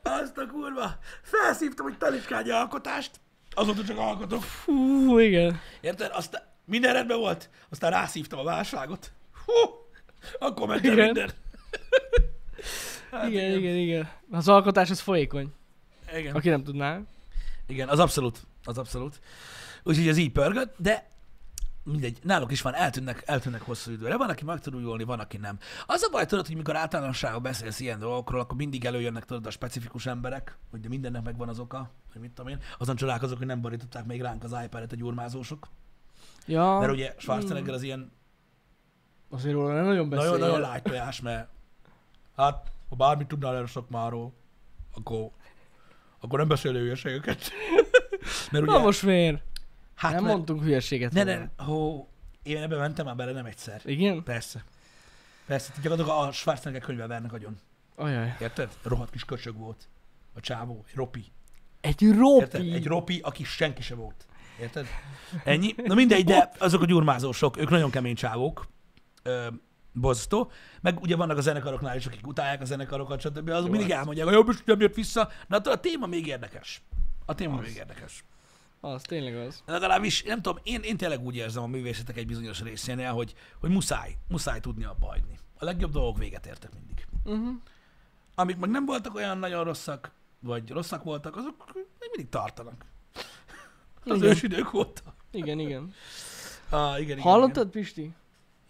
Azt a kurva. Felszívtam egy talicskányi alkotást. Azóta csak alkotok. Fú, igen. Érted? Aztán minden rendben volt. Aztán rászívtam a válságot. Hú! Akkor ment el Igen. minden. Hát igen, igen, igen. Az alkotás az folyékony. igen. Aki nem tudná. Igen, az abszolút, az abszolút. Úgyhogy ez így pörgött, de mindegy, náluk is van, eltűnnek, eltűnnek hosszú időre. Van, aki meg tud újulni, van, aki nem. Az a baj, tudod, hogy mikor általánosságban beszélsz ilyen dolgokról, akkor mindig előjönnek tudod a specifikus emberek, hogy mindennek megvan az oka, hogy mit tudom én. Azon csodálkozok, hogy nem borították még ránk az iPad-et a gyurmázósok. Ja. Mert ugye Schwarzenegger az ilyen Azért róla nem nagyon beszél. nagyon-nagyon lágy tojás, mert hát, ha bármit tudnál erről a szakmáról, akkor, akkor nem beszél ő hülyeségeket. Mert ugye, Na most miért? hát nem mert- mondtunk hülyeséget. Ne, róla. ne, hó, én ebben mentem már bele, nem egyszer. Igen? Persze. Persze, te gyakorlatilag a Schwarzenegger könyvvel vernek agyon. Ajaj. Érted? Rohadt kis köcsög volt. A csávó, egy ropi. Egy ropi. Érted? Egy ropi, aki senki se volt. Érted? Ennyi. Na mindegy, de azok a gyurmázósok, ők nagyon kemény csávók. Ö, borzasztó. Meg ugye vannak a zenekaroknál is, akik utálják a zenekarokat, stb. Azok Jó, mindig hát. elmondják, hogy jobb is nem jött vissza. Na attól a téma még érdekes. A téma Az. még érdekes. Az tényleg az. Legalábbis, nem tudom, én, én tényleg úgy érzem a művészetek egy bizonyos részénél, hogy, hogy muszáj, muszáj tudni abba hagyni. A legjobb dolgok véget értek mindig. Uh-huh. Amik meg nem voltak olyan nagyon rosszak, vagy rosszak voltak, azok még mindig tartanak. Az Igen. ősidők óta. Igen, igen. Ah, igen, igen, Igen. Hallottad, Pisti?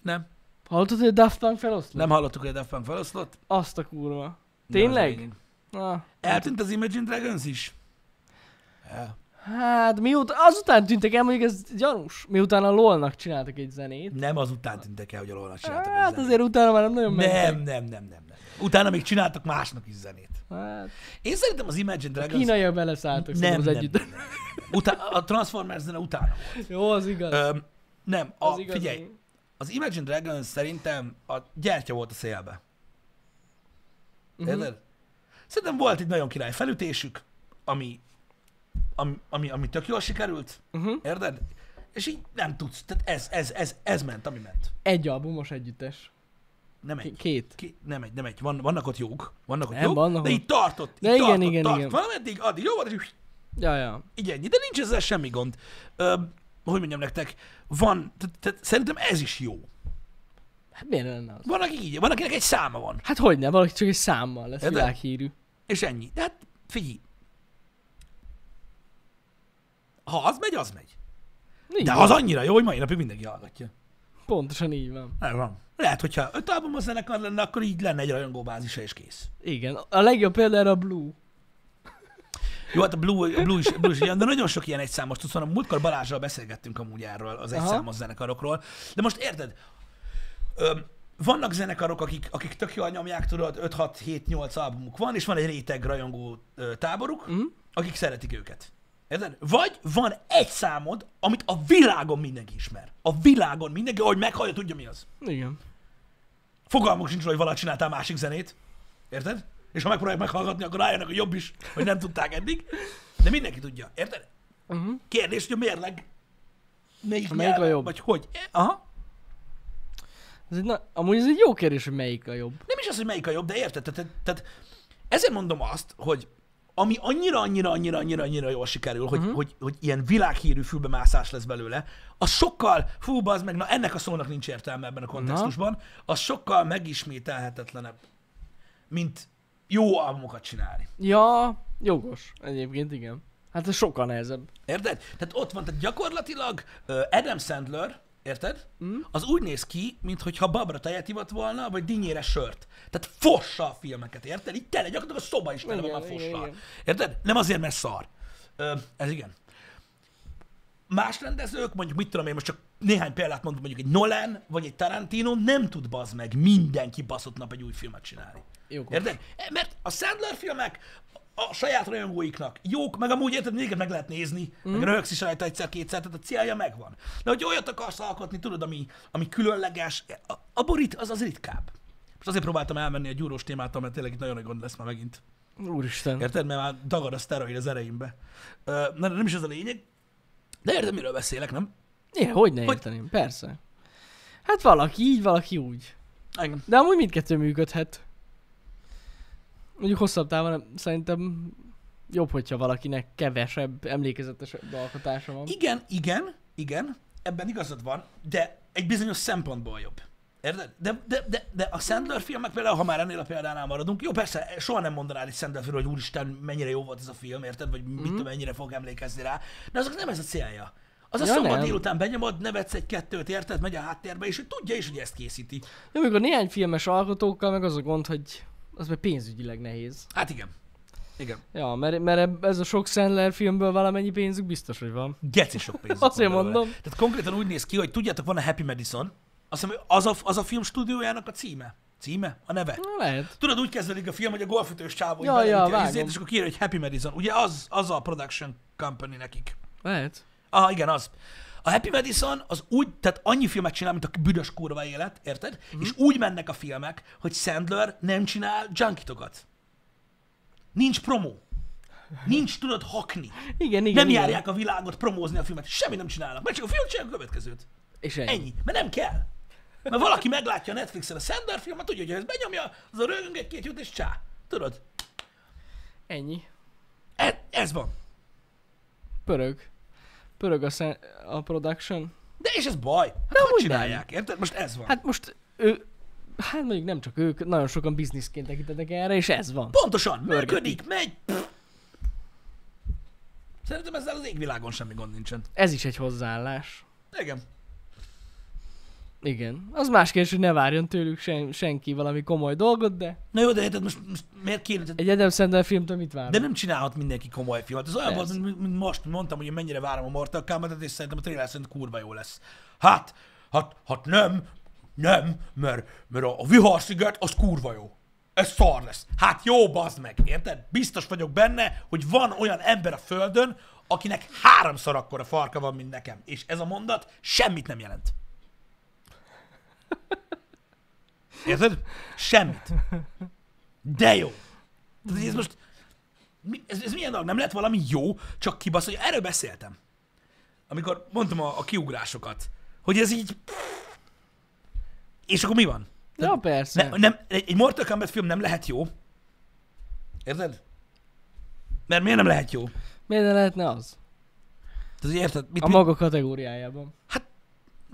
Nem, Hallottad, hogy a Daft Punk feloszlott? nem hallottuk, hogy a Daft Punk feloszlott. de Azt a kurva. az Tényleg? a lényeg. Na. Eltűnt az Imagine Dragons is? El. Hát mióta, azután tűntek el, mondjuk ez gyanús. Miután a LOL-nak csináltak egy zenét. Nem azután tűntek el, hogy a Lolnak csináltak egy Hát zenét. azért utána már nem nagyon nem, mentek. nem, nem, nem, nem. Utána még csináltak másnak is zenét. Hát, Én szerintem az Imagine a Dragons... kínaiak beleszálltak nem, nem, szerintem az együtt. nem, nem. Utána, a Transformers zene utána volt. Jó, az igaz. Öm, nem, a, az igaz. figyelj, az Imagine Dragons szerintem a gyertya volt a szélbe. Mhm. Érted? Szerintem volt egy nagyon király felütésük, ami, ami, ami, ami tök jól sikerült, Uh-huh. érted? És így nem tudsz, tehát ez, ez, ez, ez ment, ami ment. Egy albumos együttes. Nem K- egy. Két. Ki, nem egy, nem egy. Van, vannak ott jók, vannak ott Nem, jók, vannak de ott- így tartott. Így De igen, tartott, igen, tartott. igen. Valameddig addig jó volt, és Ja, ja. így ennyi. De nincs ezzel semmi gond. Ö, hogy mondjam nektek, van, tehát- tehát szerintem ez is jó. Hát miért ne lenne az? Van, aki így, van, akinek egy száma van, Hát hogy ne, valaki csak egy számmal lesz Érted? világhírű. és ennyi. De hát figyelj, ha az megy, az megy. Így De van. az annyira jó, hogy mai napig mindenki hallgatja. Pontosan így van. Nem van. Lehet, hogyha öt album a zenekar lenne, akkor így lenne egy rajongóbázisa, és kész. Igen. A legjobb példa erre a Blue. Jó, hát a Blue, a Blue, is, Blue is ilyen, de nagyon sok ilyen egyszámos tudsz, hanem múltkor Balázsral beszélgettünk amúgy erről, az Aha. egyszámos zenekarokról. De most érted, öm, vannak zenekarok, akik, akik tök jól nyomják, tudod, 5-6-7-8 albumuk van, és van egy réteg rajongó ö, táboruk, mm. akik szeretik őket. Érted? Vagy van egy számod, amit a világon mindenki ismer. A világon mindenki, ahogy meghallja, tudja mi az. Igen. Fogalmuk sincs, róla, hogy valaha csináltál másik zenét. Érted? És ha megpróbálják meghallgatni, akkor rájönnek, hogy jobb is, hogy nem tudták eddig. De mindenki tudja. Érted? Uh-huh. Kérdés, hogy a mérleg melyik, Melyik a nyelven, jobb? Vagy hogy? E, Aha. Ez egy, na, amúgy ez egy jó kérdés, hogy melyik a jobb. Nem is az, hogy melyik a jobb, de érted? Tehát, tehát- tehát ezért mondom azt, hogy ami annyira, annyira, annyira, annyira, annyira jól sikerül, hogy, uh-huh. hogy, hogy ilyen világhírű fülbemászás lesz belőle, az sokkal, fú, bazd meg, na ennek a szónak nincs értelme ebben a kontextusban, az sokkal megismételhetetlenebb, mint jó albumokat csinálni. Ja, jogos. Egyébként igen. Hát ez sokkal nehezebb. Érted? Tehát ott van, tehát gyakorlatilag ö, Adam Sandler, érted? Mm. Az úgy néz ki, mintha babra tejet ivott volna, vagy dinnyére sört. Tehát fossa a filmeket, érted? Így tele, gyakorlatilag a szoba is tele van Igen, már igen, fossal. igen. Érted? Nem azért, mert szar. Ö, ez igen. Más rendezők, mondjuk mit tudom én, most csak néhány példát mondom, mondjuk egy Nolan, vagy egy Tarantino nem tud bazd meg mindenki baszott nap egy új filmet csinálni. Jogos. Érted? E, Mert a Sandler filmek a saját rajongóiknak jók, meg amúgy érted, mindig meg lehet nézni, mm. meg röhögsz is rajta egyszer-kétszer, tehát a célja megvan. De hogy olyat akarsz alkotni, tudod, ami, ami különleges, a, a borít az az ritkább. Most azért próbáltam elmenni a gyúrós témától, mert tényleg itt nagyon nagy gond lesz már megint. Úristen. Érted? Mert már dagad a szteroid az ereimbe. Ö, Na, de nem is ez a lényeg. De érted, miről beszélek, nem? Igen, hogy ne Hogy- érteném, persze. Hát valaki így, valaki úgy. Igen. De amúgy mindkettő működhet. Mondjuk hosszabb távon szerintem jobb, hogyha valakinek kevesebb, emlékezetesebb alkotása van. Igen, igen, igen, ebben igazad van, de egy bizonyos szempontból jobb. Érted? De, de, de, de a Sandler filmek például, ha már ennél a példánál maradunk, jó, persze, soha nem mondanád egy Sandler filmről, hogy úristen, mennyire jó volt ez a film, érted? Vagy Mhm. mit tudom, mennyire fog emlékezni rá. De azok nem ez a célja. Az a Ja, ja, szombat nem. délután benyomod, nevetsz egy-kettőt, érted? Megy a háttérbe, és ő tudja is, hogy ezt készíti. Jó, amikor néhány filmes alkotókkal meg az a gond, hogy az meg pénzügyileg nehéz. Hát igen. Igen. Ja, mert, mert eb- ez a sok Sandler filmből valamennyi pénzük biztos, hogy van. Geci sok pénz. Azért mondom. Tehát konkrétan úgy néz ki, hogy tudjátok, van a Happy Madison, azt hiszem, hogy az a, az a film stúdiójának a címe. Címe? A neve? Na, Lehet. Tudod, úgy kezdődik a film, hogy a golfütős csávó ja, Ja, ja, ja, vágom. izét, és akkor kiírja, hogy Happy Madison. Ugye az, az a production company nekik. Lehet. Ah, igen, az. A Happy Madison az úgy, tehát annyi filmet csinál, mint a büdös kurva élet, érted? Mhm. Mm. És úgy mennek a filmek, hogy Sandler nem csinál junkitokat. Nincs promó. Nincs tudod hakni. Igen, igen. Nem igen. járják a világot promózni a filmet, semmi nem csinálnak. Mert csak a film csinálják a következőt. És ennyi. Ennyi. Mert nem kell. Mert valaki meglátja a Netflixen a Sandler filmet, tudja, hogy ha ezt benyomja, az a rögünk egy-két jut, és csá. Tudod? Ennyi. Ez, ez van. Pörög. Pörög a, szen- a production. De és ez baj. Hát hogy amúgy nem. csinálják, érted? Most ez van. Hát most ő, hát mondjuk nem csak ők, nagyon sokan bizniszként tekintenek erre, és ez van. Pontosan, Pörgetik. működik, megy. Pff. Szerintem ezzel az égvilágon semmi gond nincsen. Ez is egy hozzáállás. Igen. Igen. Az más kérdés, hogy ne várjon tőlük sen- senki valami komoly dolgot, de Na jó, de érted, most, most miért kéne? Tehát- egy Adam Sandler filmtől mit vár? De nem csinálhat mindenki komoly filmet. Ez olyan volt, Persze. mint, mint most mondtam, hogy én mennyire várom a Mortal Kombat-et, és szerintem a trailer szerint kurva jó lesz. Hát, hát, hát nem, nem, mert, mert a, a viharsziget az kurva jó. Ez szar lesz. Hát jó, bazd meg, érted? Biztos vagyok benne, hogy van olyan ember a Földön, akinek háromszor akkora farka van, mint nekem. És ez a mondat semmit nem jelent. Érted? Semmit. De jó. Tehát, hogy ez most, mi, ez, ez milyen dolog? Nem lett valami jó, csak kibasz, hogy erről beszéltem. Amikor mondtam a, a kiugrásokat, hogy ez így... És akkor mi van? Ja, persze. Ne, nem, egy egy Mortal Kombat film nem lehet jó. Érted? Mert miért nem lehet jó? Miért ne lehetne az? Tehát, hogy érted? Mit, A maga kategóriájában.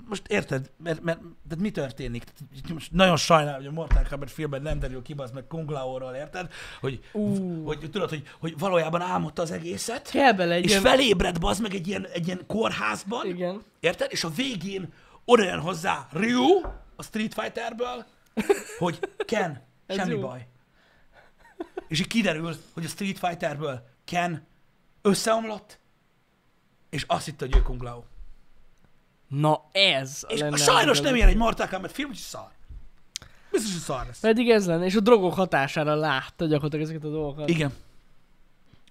most érted, mert, mert tehát mi történik? Tehát itt Most nagyon sajnálom, hogy a Mortal Kombat filmben nem derül ki, az meg Kung Lao-ról, érted? Hogy, Ú. hogy, tudod, hogy, hogy valójában álmodta az egészet, Kell bele egy és ilyen... felébred bazd meg egy ilyen, egy ilyen kórházban, Igen. érted? És a végén oda jön hozzá Ryu a Street Fighterből, hogy Ken, Ez semmi jó. baj. És így kiderül, hogy a Street Fighterből Ken összeomlott, és azt hitte, hogy ő Kung Lao. Na ez És lenne sajnos nem az igazi. ilyen egy Mortal Kombat film, úgyhogy szar. Biztos, hogy szar lesz. Pedig ez lenne, és a drogok hatására látta gyakorlatilag ezeket a dolgokat. Igen.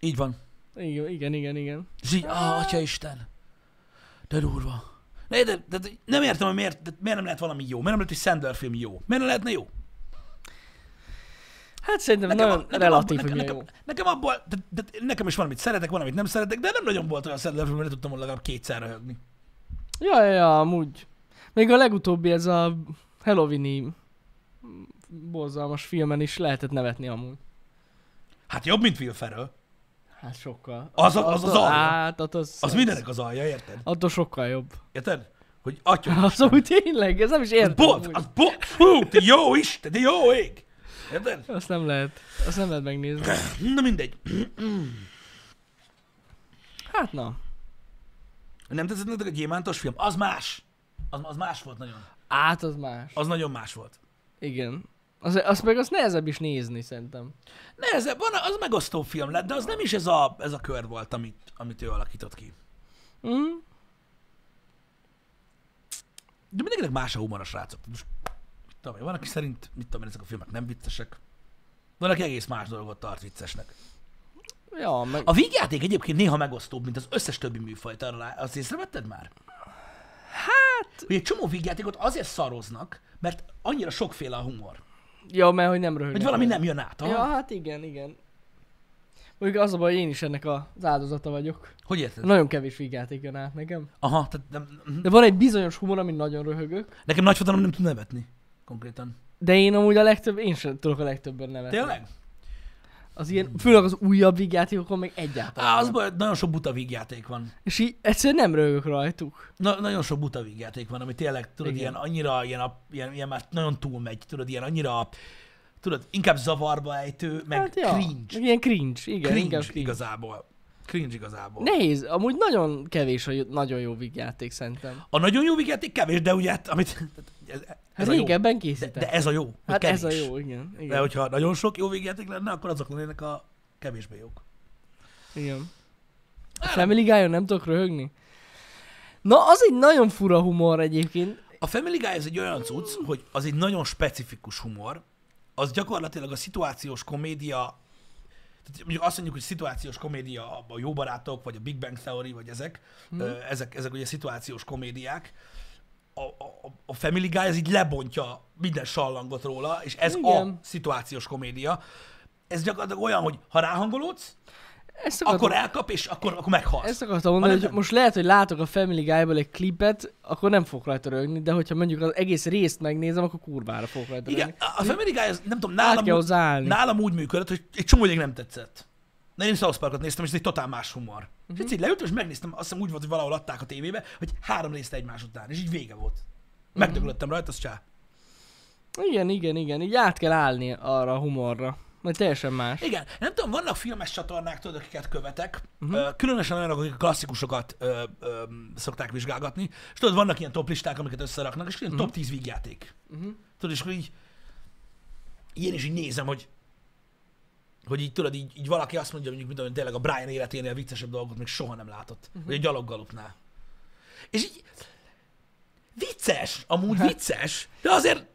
Így van. igen, igen, igen, igen. És így, ah, atya Isten. De durva. De, de, de, de nem értem, hogy miért, de miért nem lehet valami jó. Miért nem lehet, hogy Sandler film jó. Miért nem lehetne jó? Hát szerintem nagyon a- relatív, abból, hogy mi a nekem, jó. nekem, nekem, abból, de, de, nekem is van, amit szeretek, van, amit nem szeretek, de nem nagyon volt olyan Sandler film, amire tudtam volna legalább kétszer röhögni. Ja, ja, ja, amúgy. Még a legutóbbi ez a Halloweeni borzalmas filmen is lehetett nevetni amúgy. Hát jobb, mint Will Ferrell. Hát sokkal. Az a- az Attól- az alja. Hát, az, az, Az mindenek az alja, érted? Attól sokkal jobb. Érted? Hogy atya Az úgy tényleg, ez nem is értem. Bot, amúgy. az bot, fú, te jó Isten, de jó ég! Érted? Azt nem lehet, azt nem lehet megnézni. Na mindegy. Hát na. Nem tetszett nektek a gyémántos film? Az más. Az, az más volt nagyon. Át Hát, az más. Az nagyon más volt. Igen. Az, azt meg az nehezebb is nézni, szerintem. Nehezebb, van, az megosztó film lett, de az nem is ez a, ez a kör volt, amit, amit ő alakított ki. Mm? De mindenkinek más a humor a srácok. Most, mit tudom, én, van, aki szerint, mit tudom én, ezek a filmek nem viccesek. Van, aki egész más dolgot tart viccesnek. Ja, meg... A vígjáték egyébként néha megosztóbb, mint az összes többi műfajt, arra lá- azt észrevetted már? Hát... Hogy egy csomó vígjátékot azért szaroznak, mert annyira sokféle a humor. Ja, mert hogy nem röhögnek. Hogy valami meg. nem jön át. Ja, Ja. hát igen, igen. Mondjuk az a baj, én is ennek az áldozata vagyok. Hogy érted? Nagyon kevés vígjáték jön át nekem. Aha, tehát nem, mhm. De van egy bizonyos humor, amin nagyon röhögök. nekem nagy fotalom nem tud nevetni. Konkrétan. De én amúgy a legtöbb, én sem tudok a legtöbben nevetni. Tényleg? Az ilyen, főleg az újabb vígjátékokon meg egyáltalán. Á, az nem. baj, hogy nagyon sok buta vígjáték van. És így egyszerűen nem röhögök rajtuk. Na, nagyon sok buta vígjáték van, ami tényleg, tudod, Igen. ilyen annyira, ilyen, a, ilyen, ilyen már nagyon túlmegy, tudod, ilyen annyira, tudod, inkább zavarba ejtő, meg Hát hát, ja, cringe. Meg ilyen cringe, igen. Cringe, inkább cringe igazából. Cringe igazából. Nehéz, amúgy nagyon kevés a jó- nagyon jó vígjáték szerintem. A nagyon jó vigyáték kevés, de ugye, hát, amit, tehát ez, Hát ez a jó. De, régebben készítettem. de ez a jó, hogy hát kevés. ez a jó, igen. Igen. De hogyha nagyon sok jó vigyáték lenne, akkor azok lennének a kevésbé jók. igen. A Family guy nem tudok röhögni? Na, az egy nagyon fura humor egyébként. A Family Guy ez egy olyan cucc, hogy az egy nagyon specifikus humor, az gyakorlatilag a szituációs komédia, tehát mondjuk azt mondjuk, hogy szituációs komédia a- a Jó Barátok, vagy a Big Bang Theory, vagy ezek, ö, ezek, ezek ugye szituációs komédiák, a, a, a Family Guy ez így lebontja minden sallangot róla, és ez Igen. a Igen. szituációs komédia. Ez gyakorlatilag olyan, hogy ha ráhangolódsz, Ezt akartam, Akkor elkap, és akkor, akkor meghalsz. ezt akartam mondani, Ha nem, hogy nem. most lehet, hogy látok a Family Guy-ból egy klipet, akkor nem fogok rajta rögni, de hogyha mondjuk az egész részt megnézem, akkor kurvára fogok rajta Igen, rögni. a a Family Guy, az, nem tudom, Át nálam, kell hozzá állni. nálam úgy működött, hogy egy csomó ideig nem tetszett. De én South Parkot néztem, és ez egy totál más humor. Uh-huh. És Mhm. egyszer így leültem, és megnéztem, azt hiszem úgy volt, hogy valahol adták a tévébe, hogy három részt egymás után, és így vége volt. Mhm. Megdöglöttem rajta, az csá. Igen, igen, igen. Így át kell állni arra a humorra. Mert teljesen más. Igen, nem tudom, vannak filmes csatornák, tudod, akiket követek, uh-huh. különösen olyanok, akik a klasszikusokat ö, ö, szokták vizsgálgatni, és tudod, vannak ilyen top listák, amiket összeraknak, és ilyen uh-huh. top 10 vígjáték. Uh-huh. Tudod, és akkor így, ilyen is így nézem, hogy hogy így tudod, így, így valaki azt mondja, mondjuk, mint hogy tényleg a Brian életénél viccesebb dolgot még soha nem látott, uh-huh. vagy a gyaloggalupnál. És így vicces, amúgy vicces, de azért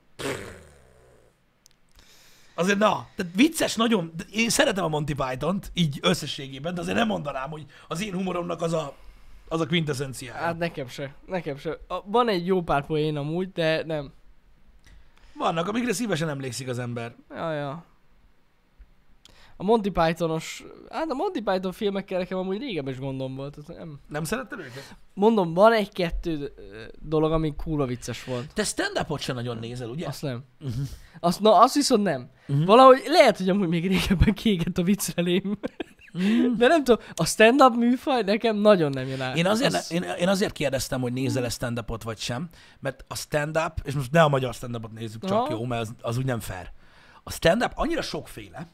Azért na, tehát vicces nagyon, de én szeretem a Monty Python-t, így összességében, de azért nem mondanám, hogy az én humoromnak az a, az a quintessenciája. Hát nekem se, nekem se. A, van egy jó pár poén amúgy, de nem. Vannak, amikre szívesen emlékszik az ember. Ja, ja. A Monty Pythonos, hát a Monty Python filmekkel nekem amúgy régebben is gondom volt. tehát Nem. Nem szeretted őket? Mondom, van egy-kettő ö, dolog, ami kurva vicces volt. Te stand-upot sem nagyon nézel, ugye? Azt nem. Uh-huh. Mhm. Azt, na, azt viszont nem. Uh-huh. Valahogy lehet, hogy amúgy még régebben kiégett a viccelém. De nem tudom, a stand-up műfaj nekem nagyon nem jön át. Mhm. Én azért, Azt- én, én azért kérdeztem, hogy Hmm. nézel-e stand-upot vagy sem, mert a stand-up, és most ne a magyar stand-upot nézzük csak, Aha. jó, mert az, az úgy nem fair. A stand-up annyira sokféle,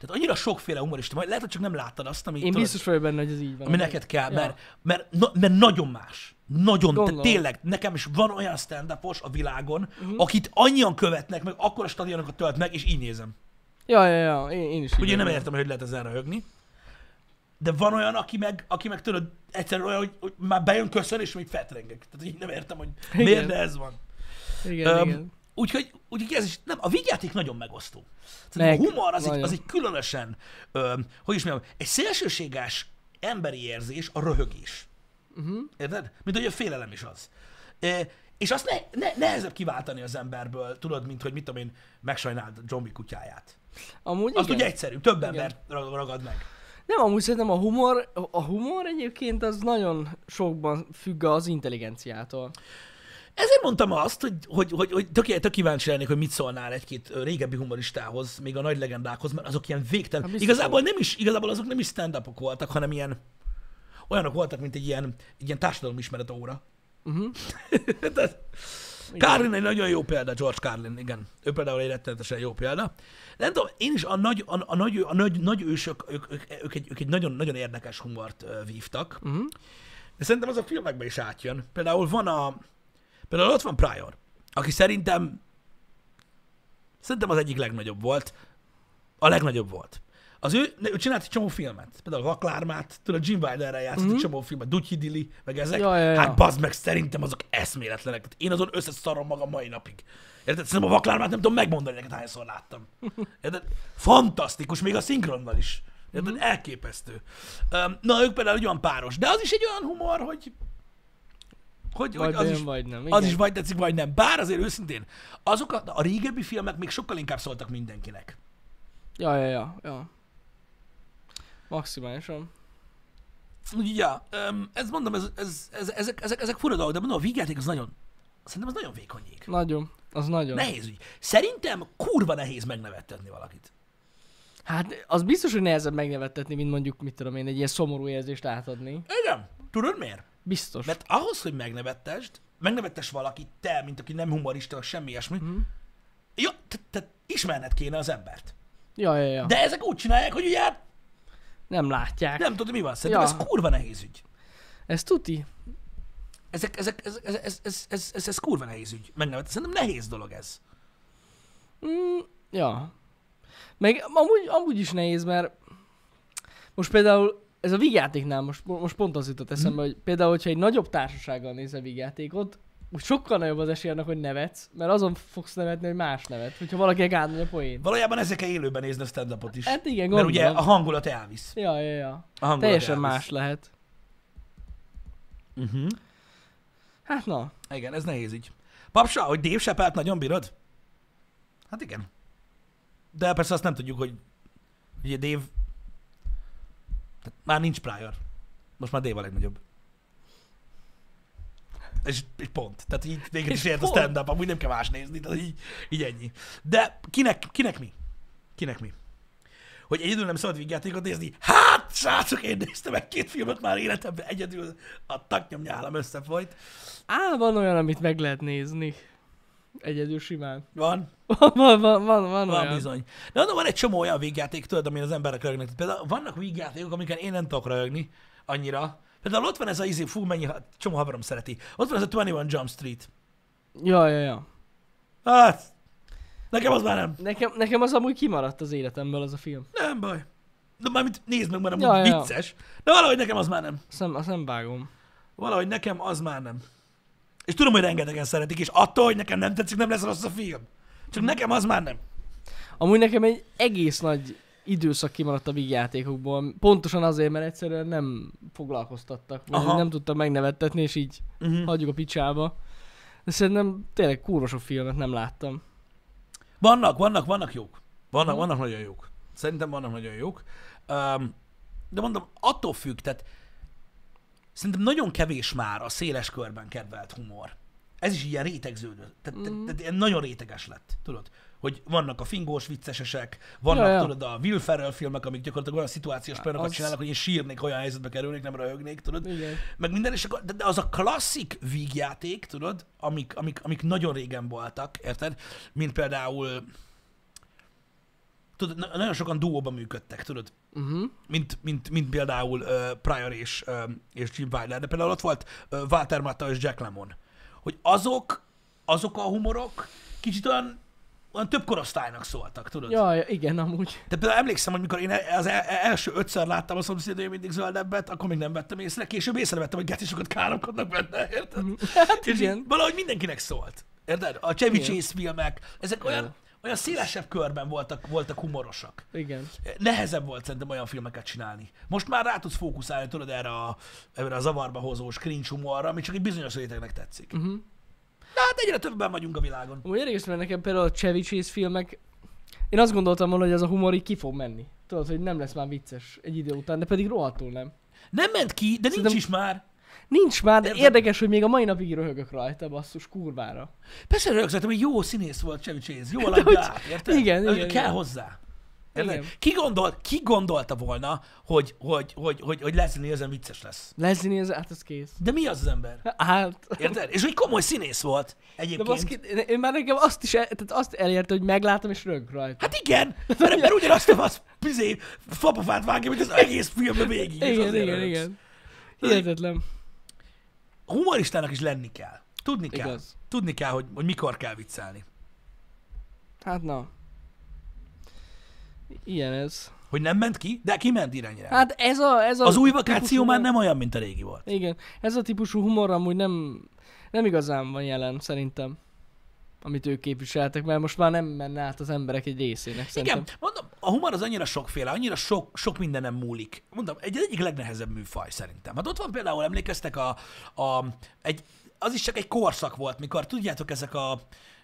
tehát annyira sokféle humorista, majd lehet, hogy csak nem láttad azt, ami Én biztos vagyok benne, hogy ez így van. ami neked kell, Ja. mert, mert, na, mert nagyon más. Nagyon, te Gondolom. Mhm. tényleg, nekem is van olyan stand a világon, uh-huh. akit annyian követnek, meg akkor a stadionokat tölt meg, és így nézem. Ja, ja, ja, én, én is így Ugye nem vagyok. értem, hogy lehet ezen röhögni. De van olyan, aki meg, aki meg tudod, egyszerűen olyan, hogy, hogy már bejön köszön, és még fetrengek. Tehát így nem értem, hogy miért, Igen. de ez van. Igen, Öm, igen. Úgyhogy, úgyhogy ez is, nem, a vígjáték nagyon megosztó. Meg, Meg, a humor az egy, nagyon. az egy különösen, öm, hogy is mondjam, egy szélsőséges emberi érzés a röhögés. Mhm. Uh-huh. Érted? Mint hogy a félelem is az. E, és azt ne, ne, nehezebb kiváltani az emberből, tudod, mint hogy mit tudom én, megsajnáld a zombi kutyáját. Amúgy Azt igen. ugye egyszerű, több ember ra- ragad meg. Nem, amúgy szerintem a humor, a humor egyébként az nagyon sokban függ az intelligenciától. Ezért mondtam azt, hogy, hogy, hogy, hogy tök, tök kíváncsi lennék, hogy mit szólnál egy-két ö, régebbi humoristához, még a nagy legendákhoz, mert azok ilyen végtelen. Hát biztos igazából, nem is, igazából azok nem is stand upok voltak, hanem ilyen olyanok voltak, mint egy ilyen, egy ilyen társadalomismeret óra. Mhm. Uh-huh. Carlin egy nagyon jó példa, George Carlin, igen. Ő például egy rettenetesen jó példa. De nem tudom, én is a nagy, a, a nagy, a nagy, nagy ősök, ők, ők, ők, egy, ők egy nagyon, nagyon érdekes humort ö, vívtak. Mhm. Uh-huh. De szerintem az a filmekben is átjön. Például van a, Például ott van Pryor, aki szerintem szerintem az egyik legnagyobb volt. A legnagyobb volt. Az ő, ő csinált egy csomó filmet. Például Vaklármát, tudod, Jim Wilderrel játszott mm-hmm. egy csomó filmet, Dutyi Dili, meg ezek. Mhm. Ja, ja, ja. Hát bazd meg, szerintem azok eszméletlenek. Tehát én azon összeszarom magam mai napig. Érted? Szerintem a Vaklármát nem tudom megmondani neked, hányszor láttam. Érted? Fantasztikus, még a szinkronnal is. Érted? Mhm. Elképesztő. Öm, Na, ők például egy olyan páros. De az is egy olyan humor, hogy hogy, hogy Vagy az, bejön, is, vagy nem. az Igen. is vagy tetszik, vagy nem. Bár azért őszintén, azok a, a régebbi filmek még sokkal inkább szóltak mindenkinek. Ja, ja, ja, ja. Maximálisan. Úgyhogy, ja, öm, ez mondom, ez, ez, ez, ezek, ezek, ezek fura dolgok, de mondom, a vígjáték az nagyon, szerintem az nagyon vékony jég. Nagyon. Az nagyon. Nehéz ügy. Szerintem kurva nehéz megnevettetni valakit. Hát az biztos, hogy nehezebb megnevettetni, mint mondjuk, mit tudom én, egy ilyen szomorú érzést átadni. Igen. Tudod miért? Biztos. Mert ahhoz, hogy megnevettesd, megnevettes valakit, te, mint aki nem humorista, vagy semmi ilyesmi, mm. jó, te, te ismerned kéne az embert. Ja, ja, ja. De ezek úgy csinálják, hogy ugye hát Nem látják. nem tudod, mi van. Szerintem Ja. ez kurva nehéz ügy. Ez tuti. Ezek, ezek, ez, ez, ez, ez, ez, ez, ez kurva nehéz ügy. Megnevet. Szerintem nehéz dolog ez. Mm, ja. Meg amúgy, amúgy is nehéz, mert most például ez a vígjátéknál most, most pont az jutott eszembe, Mhm. hogy például, hogyha egy nagyobb társasággal nézel vígjátékot, úgy sokkal nagyobb az esély annak, hogy nevetsz, mert azon fogsz nevetni, hogy más nevet, hogyha valaki gádolja a poén. Valójában ezek kell élőben nézni a stand is. Hát igen, Mert gondolom. ugye a hangulat elvisz. Ja, ja, ja. A hangulat Teljesen elvisz. más lehet. Uh-huh. Hát na, Igen, ez nehéz ügy. Papsa, hogy Dave Chappelle-t nagyon bírod? Hát igen. De persze azt nem tudjuk, hogy ugye Dave Tehát már nincs prior. Most már Dave a legnagyobb. És, és pont. Tehát így téged is És ért a pont. stand-up, amúgy nem kell más nézni, tehát így, így ennyi. De kinek, kinek mi? Kinek mi? Hogy egyedül nem szabad vígjátékot nézni? Hát, srácok, én néztem meg két filmet már életemben, egyedül a taknyom nyálam összefolyt. Á, van olyan, amit meg lehet nézni. Egyedül simán. Van, Van, van, van, van, van Van olyan. bizony. De mondom, van egy csomó olyan végjáték, tudod, amin az emberek rögnek. Például vannak végjátékok, amiken én nem tudok rögni annyira. Például ott van ez a izé, fú, mennyi ha- csomó haverom szereti. Ott van ez a 21 Jump Street. Ja, ja, ja. Hát, nekem az már nem. Nekem, nekem az amúgy kimaradt az életemből az a film. Nem baj. De mármint nézd meg, mert Ja, amúgy ja, ja. vicces. De valahogy nekem az már nem. Azt nem, azt nem vágom. Valahogy nekem az már nem. És tudom, hogy rengetegen szeretik, és attól, hogy nekem nem tetszik, nem lesz rossz a film. Csak nekem az már nem. Amúgy nekem egy egész nagy időszak kimaradt a vígjátékokból. Pontosan azért, mert egyszerűen nem foglalkoztattak. Vagy Aha. nem tudtam megnevettetni, és így Uh-huh. hagyjuk a picsába. De szerintem tényleg kurva sok filmet nem láttam. Vannak, vannak, vannak jók. Mhm. Vannak, vannak nagyon jók. Szerintem vannak nagyon jók. Um, de mondom, attól függ, tehát szerintem nagyon kevés már a széles körben kedvelt humor. Ez is ilyen rétegződő. Tehát, mm. Mhm. tehát, tehát ilyen nagyon réteges lett, tudod? Hogy vannak a fingós viccesesek, vannak, ja, Ja, ja. ja. tudod, a Will Ferrell filmek, amik gyakorlatilag olyan szituációs pályákat az- csinálnak, hogy én sírnék, olyan helyzetbe kerülnék, nem röhögnék, tudod? Igen. meg minden, és akkor, de- de az a klasszik vígjáték, tudod, amik, amik, amik nagyon régen voltak, érted? Mint például, tudod, na- nagyon sokan duóban működtek, tudod? Uh-huh. Mint, mint, mint például uh, Pryor és, uh, és Jim Wilder, de például ott volt uh, Walter Matthau és Jack Lemmon. Hogy azok, azok a humorok kicsit olyan, olyan több korosztálynak szóltak, tudod? Ja, ja, igen, amúgy. De például emlékszem, hogy mikor én el- az el- első ötször láttam a szomszédőjét mindig zöldebbet, akkor még nem vettem észre, később észrevettem, hogy getisokat káromkodnak benne, érted? Hát És igen. így valahogy mindenkinek szólt. Érted? A Chevy Igen. Chase filmek, ezek olyan, Igen. olyan szélesebb körben voltak, voltak humorosak. Igen. Nehezebb volt szerintem olyan filmeket csinálni. Most már rá tudsz fókuszálni, tudod, erre a, erre a zavarba hozós cringe humorra, ami csak egy bizonyos rétegnek tetszik. Uh-huh. De hát egyre többen vagyunk a világon. Amúgy érdekes, mert nekem például a Chevy Chase filmek, én azt gondoltam volna, hogy ez a humor így ki fog menni. Tudod, hogy nem lesz már vicces egy idő után, de pedig rohadtul nem. Nem ment ki, de nincs Szerintem- is már. Nincs már, de Érted? érdekes, hogy még a mai napig röhögök rajta, basszus, kurvára. Persze rögzítettem, hogy jó színész volt Chevy Chase, jól adja hogy- át, hát, érted? igen, Az igen, Kell igen. hozzá. Érted? Igen. Ki, gondol, ki gondolta volna, hogy, hogy, hogy, hogy, hogy Leslie Nielsen vicces lesz? Leslie Nielsen, hát ez kész. De mi az az ember? Hát, Érted? És hogy komoly színész volt de egyébként. baszki, én- én már nekem azt is el, tehát azt elérte, hogy meglátom és rög rajta. Hát igen, mert ember ugyanazt a fasz, pizé, fapafát vágja, mint az egész filmbe végig. és igen, azért igen, röhögsz. igen. Hihetetlen. Humoristának is lenni kell. Tudni kell. Igaz. Tudni kell, hogy, hogy mikor kell viccelni. Hát na. Ilyen ez. Hogy nem ment ki, de kiment irányra. Hát ez a... Ez a Az új típusú vakáció már nem olyan, mint a régi volt. Igen, ez a típusú humor amúgy nem, nem igazán van jelen szerintem, amit ők képviseltek, mert most már nem menne át az emberek egy részének szerintem. Igen, mondom, a humor az annyira sokféle, annyira sok, sok minden nem múlik. Mondom, egy egyik legnehezebb műfaj szerintem. Hát ott van például, emlékeztek a, a egy, az is csak egy korszak volt, mikor tudjátok, ezek a,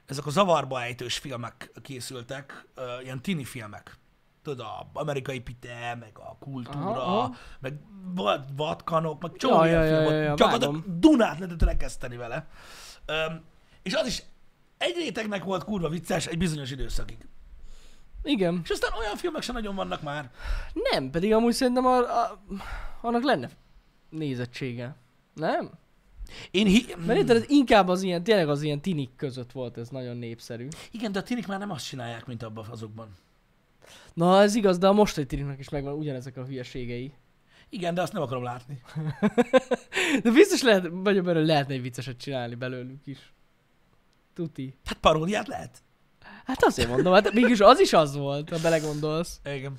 ezek a zavarba ejtős filmek készültek, ö, ilyen tini filmek. Tudod, a amerikai pite, meg a kultúra, Aha, aha. meg volt vadkanok, meg csomó Ja, ilyen ja, film ja, volt. ja, ja, Csak vágom. a Dunát lehetett rekeszteni vele. Öm, és az is egy rétegnek volt kurva vicces egy bizonyos időszakig. Igen. És aztán olyan filmek sem nagyon vannak már. Nem, pedig amúgy szerintem a, a, annak lenne nézettsége. Nem? Én hi- Mert érted, ez inkább az ilyen, tényleg az ilyen tinik között volt ez nagyon népszerű. Igen, de a tinik már nem azt csinálják, mint abban azokban. Na, ez igaz, de a mostani tiniknak is megvan ugyanezek a hülyeségei. Igen, de azt nem akarom látni. De biztos lehet, vagyok benne, hogy lehetne egy vicceset csinálni belőlük is. Tuti. Hát paródiát lehet. Hát azért mondom, hát mégis az is az volt, ha belegondolsz. Igen.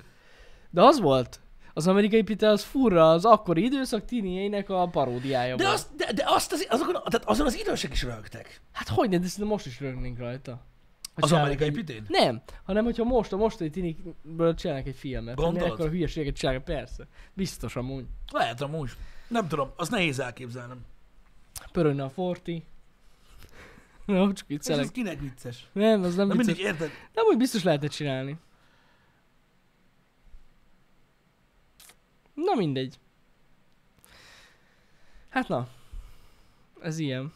De az volt. Az amerikai pite az furra, az akkori időszak tinieinek a paródiája De, volt. azt, de, de azt az, azokon, tehát azon az idősek is rögtek. Hát hogy ne, de szerintem most is rögnénk rajta. Ha Az csinálnak amerikai egy- pitén? Nem, hanem hogyha most a mostani tinikből csinálnak egy filmet. Gondolod? Akkor a hülyeséget csinálnak, persze. Biztos amúgy. Lehet amúgy. Nem tudom, az nehéz elképzelnem. Pörögne a forti. Na, csak És ez viccelek. kinek vicces? Nem, az nem Na vicces. mindig érted? Nem, úgy biztos lehetne csinálni. Na mindegy. Hát na. Ez ilyen.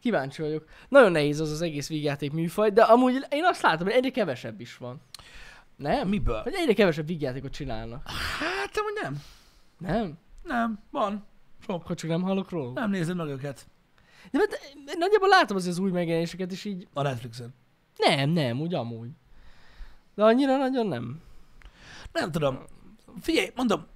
Kíváncsi vagyok. Nagyon nehéz az az egész vígjáték műfaj, de amúgy én azt látom, hogy egyre kevesebb is van. Nem? Miből? Hogy egyre kevesebb vígjátékot csinálnak. Hát, amúgy nem. Nem? Nem, van. Sok. Akkor csak nem hallok róla. Nem nézed meg őket. De mert én nagyjából látom az, az új megjelenéseket, és így A Netflixen. nem, nem, úgy amúgy. De annyira nagyon nem. Nem tudom. Figyelj, mondom,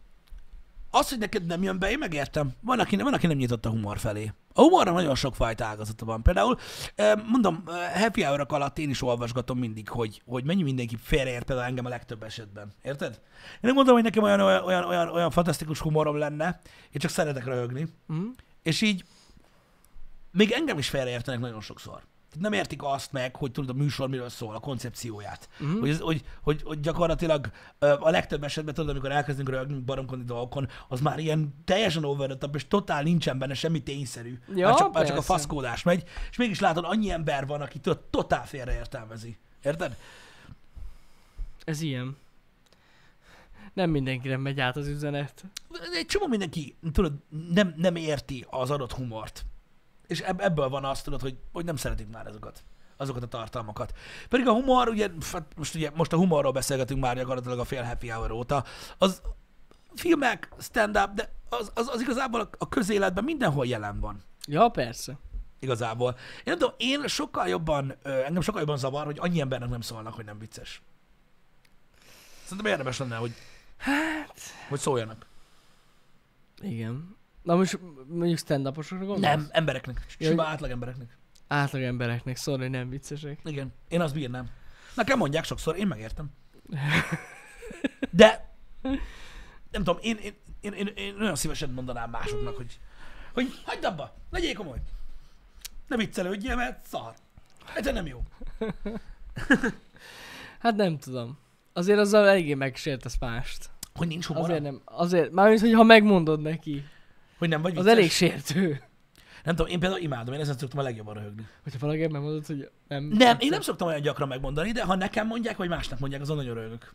az, hogy neked nem jön be, én megértem. Van, aki, van, aki nem nyitott a humor felé. A humorra nagyon sok fajta ágazata van. Például, eh, mondom, eh, happy hour alatt én is olvasgatom mindig, hogy, hogy mennyi mindenki félreért például engem a legtöbb esetben. Érted? Én nem mondom, hogy nekem olyan, olyan, olyan, olyan, olyan fantasztikus humorom lenne, én csak szeretek röhögni. Mm. És így még engem is félreértenek nagyon sokszor. Tehát nem értik azt meg, hogy tudod, a műsor miről szól, a koncepcióját. Mhm. Mm. Hogy, ez- hogy, hogy, hogy gyakorlatilag ö, a legtöbb esetben, tudod, amikor elkezdünk rögni baromkodni dolgokon, az már ilyen teljesen over the top, és totál nincsen benne semmi tényszerű. Ja, már, csak, már csak a persze. faszkódás megy, és mégis látod, annyi ember van, aki tudod, totál félreértelmezi. Érted? Ez ilyen. Nem mindenkire megy át az üzenet. egy csomó mindenki, tudod, nem, nem érti az adott humort. És eb- ebből van azt, tudod, hogy, hogy nem szeretik már azokat azokat a tartalmakat. Pedig a humor, ugye, pff, hát most ugye, most a humorról beszélgetünk már gyakorlatilag a fél happy hour óta, az filmek, stand-up, de az, az, az igazából a- a közéletben mindenhol jelen van Ja, persze. igazából. Én nem tudom, én sokkal jobban, ö, engem sokkal jobban zavar, hogy annyi embernek nem szólnak, hogy nem vicces. Szerintem érdemes lenne, hogy, hát... hogy szóljanak. Igen. Na most mondjuk stand gondolsz? Nem, embereknek. Ja, Sima hogy- átlag embereknek. Átlag embereknek szólni, hogy nem viccesek. Igen. Én azt bírnám. Nekem mondják sokszor, én megértem. De nem tudom, én, én, én, én, én nagyon szívesen mondanám másoknak, hogy, hogy hagyd abba, legyél komoly. Ne viccelődjél, mert szar. Ez nem jó. Hát nem tudom. Azért azzal eléggé megsértesz mást. Hogy nincs humor, Azért nem. Azért, mármint, hogy ha megmondod neki. hogy nem vagy Az vicces. elég sértő. Nem tudom, én például imádom, én ezen szoktam a legjobban röhögni. Hogyha valaki megmondod, hogy nem. Nem, én nem szoktam olyan gyakran megmondani, de ha nekem mondják, vagy másnak mondják, azon nagyon röhögök.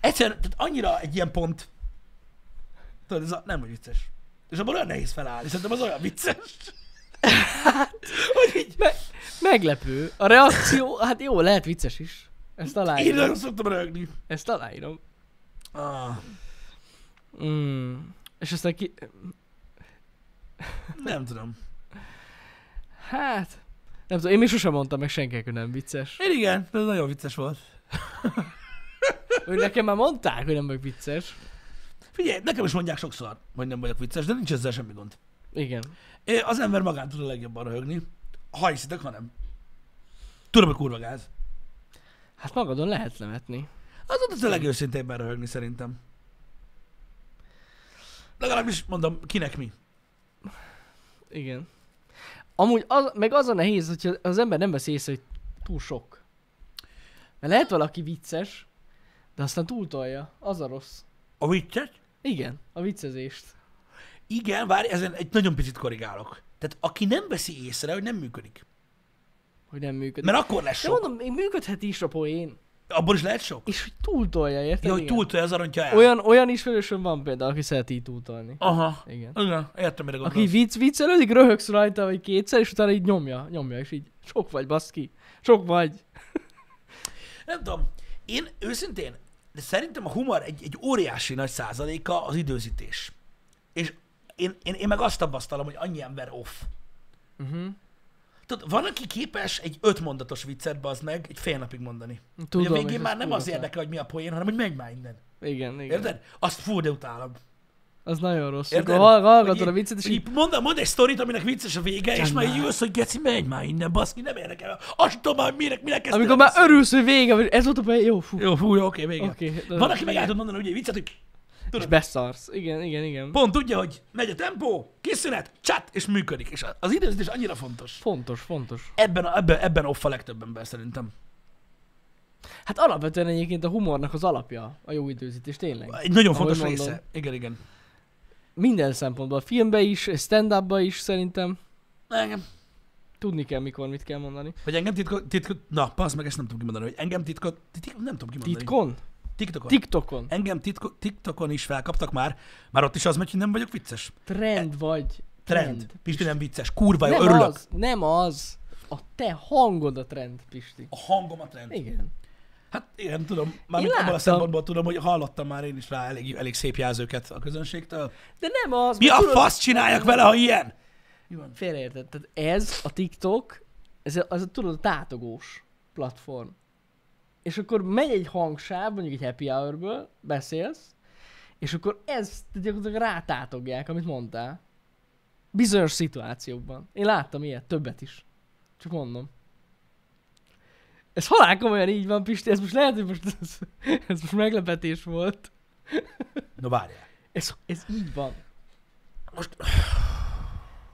Egyszerűen, tehát annyira egy ilyen pont, tudod, ez a, nem vagy vicces. És abban olyan nehéz felállni, szerintem az olyan vicces. hogy így, Me- meglepő. A reakció, hát jó, lehet vicces is. Ezt én aláírom. nagyon szoktam röhögni. Ezt aláírom. Ah, Mm. És aztán ki... nem tudom. Hát... Nem tudom, én még sosem mondtam meg senkinek, hogy nem vicces. Én igen, de ez nagyon vicces volt. Hogy nekem már mondták, hogy nem vagyok vicces. Figyelj, nekem is mondják sokszor, hogy nem vagyok vicces, de nincs ezzel semmi gond. Igen. É, Az ember magán tud a legjobban röhögni. Ha hiszitek, ha nem. Tudom, hogy kurva gáz. Hát magadon lehet lemetni. Az ott az a legőszintébben röhögni szerintem. Legalábbis mondom, kinek mi. Igen. Amúgy az, meg az a nehéz, hogyha az ember nem veszi észre, hogy túl sok. Mert lehet valaki vicces, de aztán túltolja. Az a rossz. A vicces? Igen, a viccezést. Igen, várj, ezen egy nagyon picit korrigálok. Tehát aki nem veszi észre, hogy nem működik. Hogy nem működik. Mert akkor lesz de sok. mondom, én működhet is a poén. Abból is lehet sok. És hogy túltolja, érted? Ja, hogy Igen. túltolja az arantja el. Olyan, olyan ismerősöm van például, aki szereti így túltolni. Aha. Igen. Igen, értem, mire Aki gondolsz. vicc, viccelődik, röhögsz rajta, vagy kétszer, és utána így nyomja, nyomja, és így sok vagy, baszki. Sok vagy. Nem tudom. Én őszintén, de szerintem a humor egy, egy óriási nagy százaléka az időzítés. És én, én, én meg azt tapasztalom, hogy annyi ember off. Mhm. Uh-huh. Tudod, van, aki képes egy ötmondatos viccet, bazd meg, egy fél napig mondani. Tudom, Tudom, hogy a és végén ez már nem kurva az szar. érdekel, hogy mi a poén, hanem hogy menj már innen. Igen, igen. Érted? Azt fú, de utálom. Az nagyon rossz. Érted? Érted? Akkor hall- Hogy hallgatod a így- viccet, és hogy így... így Mond, mond egy sztorit, aminek vicces a vége, és Csak már így már. jössz, hogy geci, menj már innen, baszki, nem érdekel. Azt tudom már, mire, mire kezdtél. Amikor már beszélni. örülsz, hogy vége, vagy ez volt a be... Jó, fú. Jó, fú, jó, oké, vége. Oké. Van, aki meg el tud mondani ugye egy viccet, hogy És beszarsz. Igen, igen, igen. pont tudja, hogy megy a tempó, kiszünet, csat, és működik. És az időzítés annyira fontos. Fontos, fontos. Ebben, a, ebben, ebben off a legtöbb ember szerintem. Hát alapvetően egyébként a humornak az alapja a jó időzítés, tényleg. Egy nagyon Ahogy fontos mondod. része. Igen, igen. Minden szempontból. A filmbe is, stand upba is szerintem. Engem. Tudni kell, mikor mit kell mondani. Hogy engem titkot, titkot, na, passz meg, ezt nem tudom kimondani, hogy engem titkot, titkot nem tudom kimondani. Titkon? TikTokon. TikTokon. Engem titko- TikTokon is felkaptak már, már ott is az megy, hogy nem vagyok vicces. Trend vagy. e, Trend. Pisti nem vicces. Kurva jó, Nem örülök. az, nem az. A te hangod a trend, Pisti. A hangom a trend. Igen. Hát én nem tudom, mármint Én abban a láttam. szempontból tudom, hogy hallottam már én is rá elég, elég szép jelzőket a közönségtől. De nem az. Mi mert a Szóval tudod- fasz csináljak vele, ha ilyen? Mi van? Félreérted. Tehát ez a TikTok, ez a, az a, tudod, a tátogós platform. És akkor megy egy hangsáv, mondjuk egy happy hourből, beszélsz, és akkor ezt gyakorlatilag rátátogják, amit mondtál. Bizonyos szituációkban. Én láttam ilyet, többet is. Csak mondom. Ez halál komolyan így van, Pisti, ez most lehet, hogy most ez, ez most meglepetés volt. Na várjál. Ez, ez így van. Most-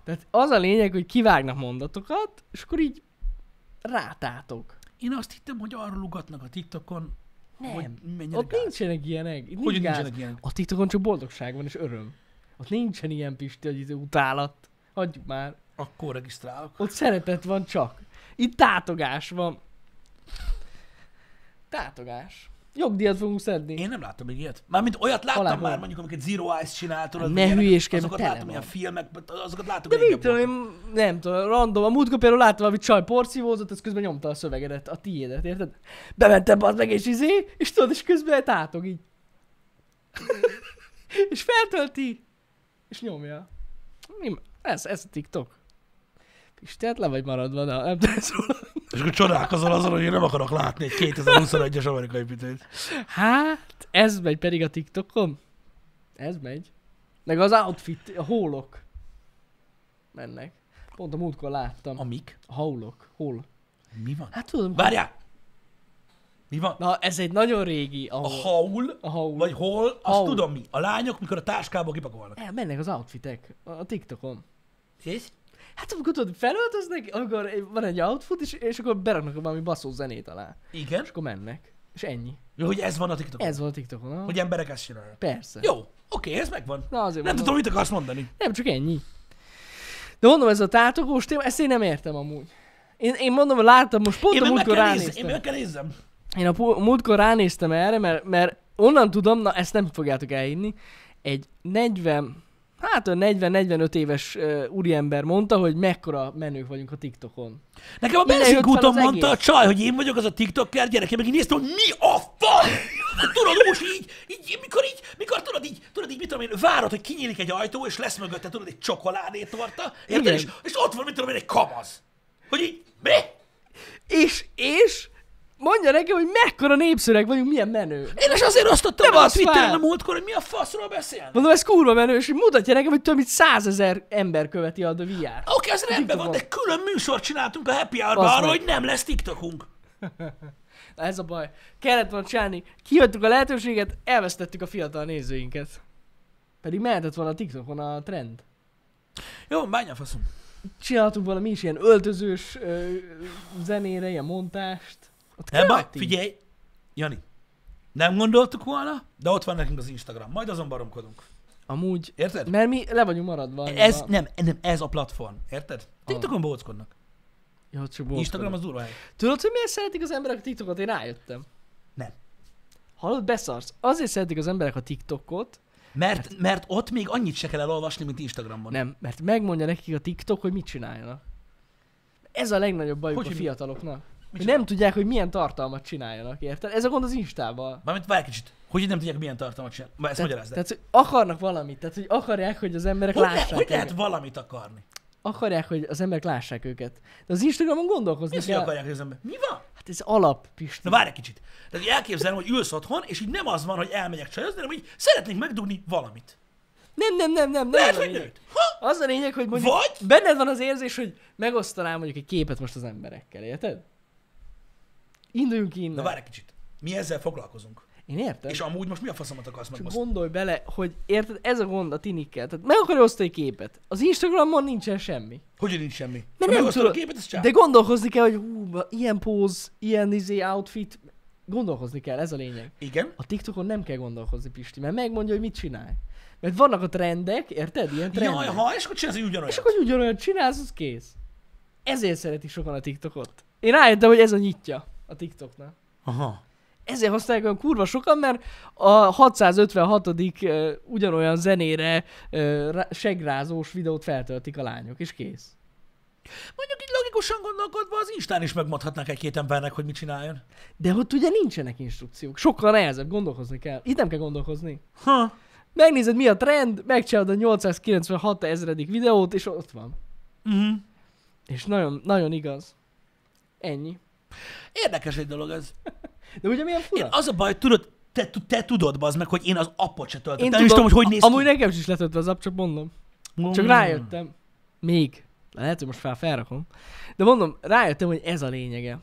Tehát az a lényeg, hogy kivágnak mondatokat, és akkor így rátátok. Én azt hittem, hogy arról ugatnak a TikTokon, Nem. hogy menjenek Ott nincsenek ilyenek. Itt Hogy nincs gáz. nincsenek ilyenek? A TikTokon csak boldogság van és öröm. Ott nincsen ilyen Pisti, hogy izé utálat. Hagyjuk már. Akkor regisztrálok. Ott szeretet van csak. Itt tátogás van. Tátogás. Jogdíjat fogunk szedni. Én nem láttam még ilyet. Mármint olyat láttam Halál, már, hol? mondjuk, amiket Zero Eyes csinált, tudod, Ne vagy ilyenek. hülyéskedj, azokat tele láttam van. ilyen filmek, azokat láttam De régen mit tudom volt. én, nem tudom, random. A múltkor például láttam valami csaj porszívózott, ez közben nyomta a szövegedet, a tiédet, érted? Bementem az meg, és izé, és tudod, és közben tátog így. és feltölti, és nyomja. Mi- Ez, ez a TikTok. És tehát le vagy maradva, de nem tudsz róla. És akkor csodálkozol azon, hogy én nem akarok látni egy 2021-es amerikai pitőt. Hát, ez megy pedig a TikTokon. Ez megy. Meg az outfit, a hólok mennek. Pont a múltkor láttam. A Amik? haulok, hol. Mi van? Hát tudom, Várjál! Mi van? Na, ez egy nagyon régi, A ahol... haul, A haul. vagy hol, azt Haul. tudom mi. A lányok, mikor a táskába kipakolnak. El, mennek az outfitek a a TikTokon. És? Hát amikor tudod, felöltöznek, amikor van egy outfit, és, és akkor beraknak valami baszó zenét alá. Igen. És akkor mennek. És ennyi. Jó, hogy ez van a TikTokon. Ez van a TikTokon, aha. Hogy emberek ezt csinálnak. Persze. Jó, oké, ez megvan. Na azért Nem mondom. tudom, mit akarsz mondani. Nem, csak ennyi. De mondom, ez a tátogós téma, ezt én nem értem amúgy. Én, én mondom, hogy láttam most pont Én a meg, meg múltkor kell nézzem, én ránéztem. meg kell nézzem. Én a pu- múltkor ránéztem erre, mert, mert onnan tudom, na ezt nem fogjátok elhinni, egy 40, hát olyan 40-45 éves uh, úriember mondta, hogy mekkora menők vagyunk a TikTokon. Nekem a Innen jött benzinkúton fel az mondta a egész. csaj, hogy én vagyok az a TikToker gyerek, én meg így néztem, hogy mi a fasz? Tudod, most így, így, mikor így, mikor tudod így, tudod így, mit tudom én, várod, hogy kinyílik egy ajtó, és lesz mögötte, tudod, egy csokoládétorta, érted? Igen. És, és, ott van, mit tudom én, egy kamasz. Hogy így, mi? És, és mondja nekem, hogy mekkora népszöreg vagyunk, milyen menő. Én is azért azt adtam Nem el a az Twitteren fel. a múltkor, hogy mi a faszról beszélnek. Mondom, ez kurva menő, és így mutatja nekem, hogy több mint százezer ember követi a The VR. Oké, okay, az rendben van, de TikTokon. külön műsort csináltunk a Happy hour Bazd arra, meg. hogy nem lesz TikTokunk. Na, ez a baj. Kellett volna csinálni. Kihagytuk a lehetőséget, elvesztettük a fiatal nézőinket. Pedig mehetett volna a TikTokon a trend. Jó, bánja faszom. csináltunk valami is ilyen öltözős ö, zenére, ilyen montást. Ott Nem, baj, követi. figyelj, Jani, nem gondoltuk volna, de ott van nekünk az Instagram. Majd azon baromkodunk. Amúgy, Érted? mert mi le vagyunk maradva. Ez, nem, nem, ez a platform. Érted? Ah. TikTokon bóckodnak. Jó, csak bóckodom. Instagram az durva hely. Tudod, hogy miért szeretik az emberek a TikTokot? Én rájöttem. Nem. Hallod, beszarsz. Azért szeretik az emberek a TikTokot, Mert, mert ott még annyit se kell elolvasni, mint Instagramon. Hát. nem, mert megmondja nekik a TikTok, hogy mit csináljanak. Ez a legnagyobb bajuk Hogy, hogy a hogy mi- fiataloknak. Hogy csinál? nem tudják, hogy milyen tartalmat csináljanak, érted? Ez a gond az Instával. Mármint várj kicsit. Hogy nem tudják, milyen tartalmat csinál. Már ezt magyarázd el. Tehát, hogy akarnak valamit, tehát, hogy akarják, hogy az emberek Hogy, lássák. le, hogy őket. lehet valamit akarni? akarják, hogy az emberek lássák őket. De az Instagramon Mi gondolkozni azt, hogy kell. akarják, hogy az ember? Mi van? Hát ez alap, Pisti. Na várj egy kicsit. Tehát így elképzelem, hogy ülsz otthon, és így nem az van, hogy elmegyek csajozni, hanem hogy szeretnék megdugni valamit. nem, nem, nem, nem, nem. Lehet, az a hogy lényeg. nőt. Ha? Az a lényeg, hogy mondjuk Vagy- benned van az érzés, hogy megosztanám mondjuk egy képet most az emberekkel, érted? Induljunk ki innen. Na várj egy kicsit. Mi ezzel foglalkozunk. Én értem. És amúgy most mi a faszomat akarsz Csak megosztani? gondolj bele, hogy érted, ez a gond a tinikkel. Tehát meg akarja osztani egy képet. Az Instagramon nincsen semmi. Hogy nincs semmi? Mert Ha nem megosztod a tudod. képet, ez csak. De gondolkozni kell, hogy hú, ba- ilyen póz, ilyen izé, outfit. Gondolkozni kell, ez a lényeg. Igen. A TikTokon nem kell gondolkozni, Pisti, mert megmondja, hogy mit csinál. Mert vannak a trendek, érted? Ilyen trendek. Jaj, ha, és akkor csinálsz egy ugyanolyat. És akkor hogy ugyanolyan csinálsz, az kész. Ezért szeretik sokan a TikTokot. Én rájöttem, hogy ez a nyitja a TikToknak. Aha. ezért használják olyan kurva sokan, mert a 656. ö, ugyanolyan zenére ö, rá- segrázós videót feltöltik a lányok, és kész. Mondjuk így logikusan gondolkodva az Instán is megmondhatnák egy-két embernek, hogy mit csináljon. De ott ugye nincsenek instrukciók. Sokkal nehezebb, gondolkozni kell. Itt nem kell gondolkozni. Ha. Megnézed, mi a trend, megcsinálod a 896 ezredik videót, és ott van. Uh-huh. És nagyon, nagyon igaz. Ennyi. Érdekes egy dolog ez. De ugye milyen fura? Én az a baj, tudod, te, te tudod, bazd meg, hogy én az appot se töltöttem. Én Nem is tudom, hogy hogy néz Amúgy ki. Mm. nekem is letöltve az app, csak mondom. Ne... Csak rájöttem. Még. Lehet, hogy most fel, felrakom. De mondom, rájöttem, hogy ez a lényege.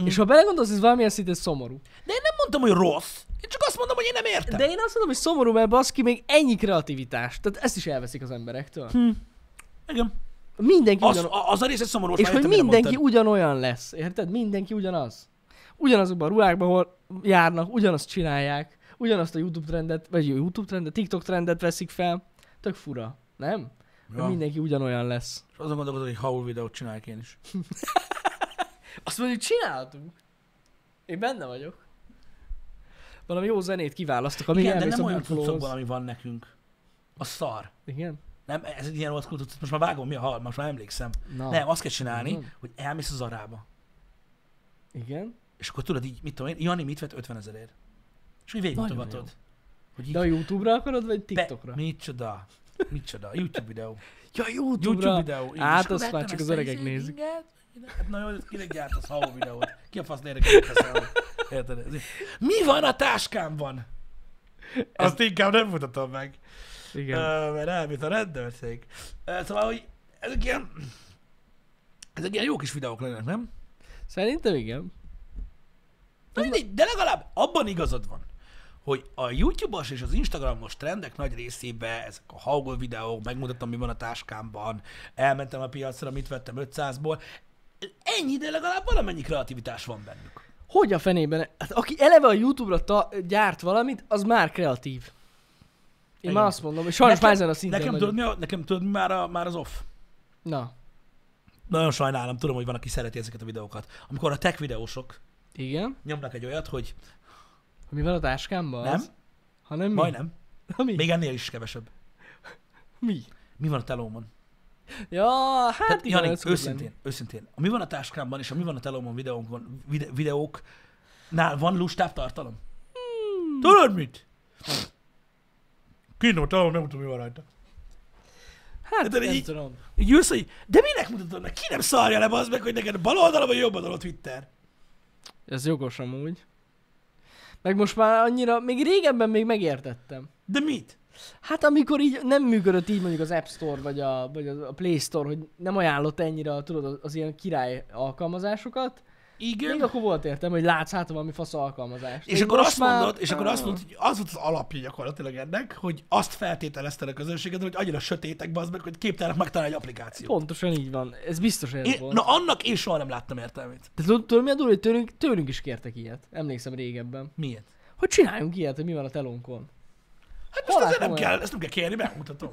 Mm. És ha belegondolsz, ez valamilyen szinten szomorú. De én nem mondtam, hogy rossz. Én csak azt mondom, hogy én nem értem. De én azt mondom, hogy szomorú, mert baszki még ennyi kreativitás. Tehát ezt is elveszik az emberektől. Hm. Igen. Mindenki Az, ugyan... a- az a része szomorú. most És már hogy értem, mire mindenki mondtad. ugyanolyan lesz, érted? Mindenki ugyanaz. Ugyanazokban a ruhákban, ahol járnak, ugyanazt csinálják, ugyanazt a YouTube trendet, vagy YouTube trendet, TikTok trendet veszik fel. Tök fura, nem? Ja. Ja. Mindenki ugyanolyan lesz. És azon gondolkodom, hogy haul videót csinálják én is. Azt mondjuk, csináltunk. Én benne vagyok. Valami jó zenét kiválasztok, ami Igen, de elmész nem a olyan Buffalóhoz. cuccokban, ami van nekünk. A szar. Igen? Nem, ez egy ilyen old school cucc, most már vágom, mi a hal, most már emlékszem. Na. Nem, azt kell csinálni, Ah. Mhm. hogy elmész az arába. Igen? És akkor tudod így, mit tudom én, Jani mit vett 50 ezerért. És úgy végigmutogatod. Nagyon Hogy De a YouTube-ra akarod, vagy TikTokra? Be, micsoda. Micsoda. YouTube videó. Ja, YouTube-ra. YouTube videó. így. És Hát, akkor azt már vettem csak ezt az a öregek izét, nézik. inget. Hát Na jó, ez kinek gyárt az haó videót? Ki a fasz érdekes teszel? Érted? Ez így. Mi van a táskámban? Azt inkább nem mutatom meg. Ö, Igen. mert elmit a rendőrség. Ö, Szóval, hogy ezek ilyen... Ezek ilyen jó kis videók lennek, nem? Szerintem igen. Na mindegy, de legalább abban igazad van, hogy a YouTube-os és az Instagramos trendek nagy részében ezek a haugol videók, megmutatom, mi van a táskámban, elmentem a piacra, mit vettem 500-ból, ennyi, de legalább valamennyi kreativitás van bennük. Hogy a fenében? Hát aki eleve a YouTube-ra ta- gyárt valamit, az már kreatív. Én Igen. már azt mondom, és sajnos már ezen a szinten nekem, vagyok. tudod, mi a, nekem tudod, mi már, a, már az off. Na, Nagyon sajnálom, tudom, hogy van, aki szereti ezeket a videókat. Amikor a tech videósok igen. nyomnak egy olyat, hogy Mi van a táskámban? nem, Az? Hanem mi? majdnem, Ha, mi? még ennél is kevesebb. Mi? Mi van a telómon? Ja, hát Tehát, igen, Jani, ez szokott őszintén, őszintén. A mi van a táskámban és a mi van a telomon videónkon, vide- videóknál van lustább tartalom? Hmm. Tudod mit? Kínom a telomon, nem tudom, mi van rajta. lenni. Hát de nem így- tudom. Így ülsz, hogy de minek mutatod meg? Ki nem szarja le az meg, hogy neked bal oldalon vagy jobb oldalon a Twitter? Ez jogos amúgy. Meg most már annyira, még régebben még megértettem. De mit? Hát amikor így nem működött így mondjuk az App Store vagy a, vagy az- a Play Store, hogy nem ajánlott ennyire tudod, az- az ilyen király alkalmazásokat, Igen. Még akkor volt értem, hogy látsz hát valami fasz alkalmazást. És Még akkor most azt mondod, és akkor azt mondod, hogy az volt az alapja gyakorlatilag ennek, hogy azt feltételezted a közönséged, hogy annyira sötétek bazd meg, hogy képtelenek megtalálni egy applikációt. Pontosan így van. Ez biztos ez Én, volt. na annak én soha nem láttam értelmét. De tudod, tudod mi a durva, hogy tőlünk, tőlünk is kértek ilyet. Emlékszem régebben. Miért? Hogy csináljunk ilyet, hogy mi van a telónkon. Hát most Halál ezzel nem komolyan. kell, ezt nem kell kérni, megmutatom.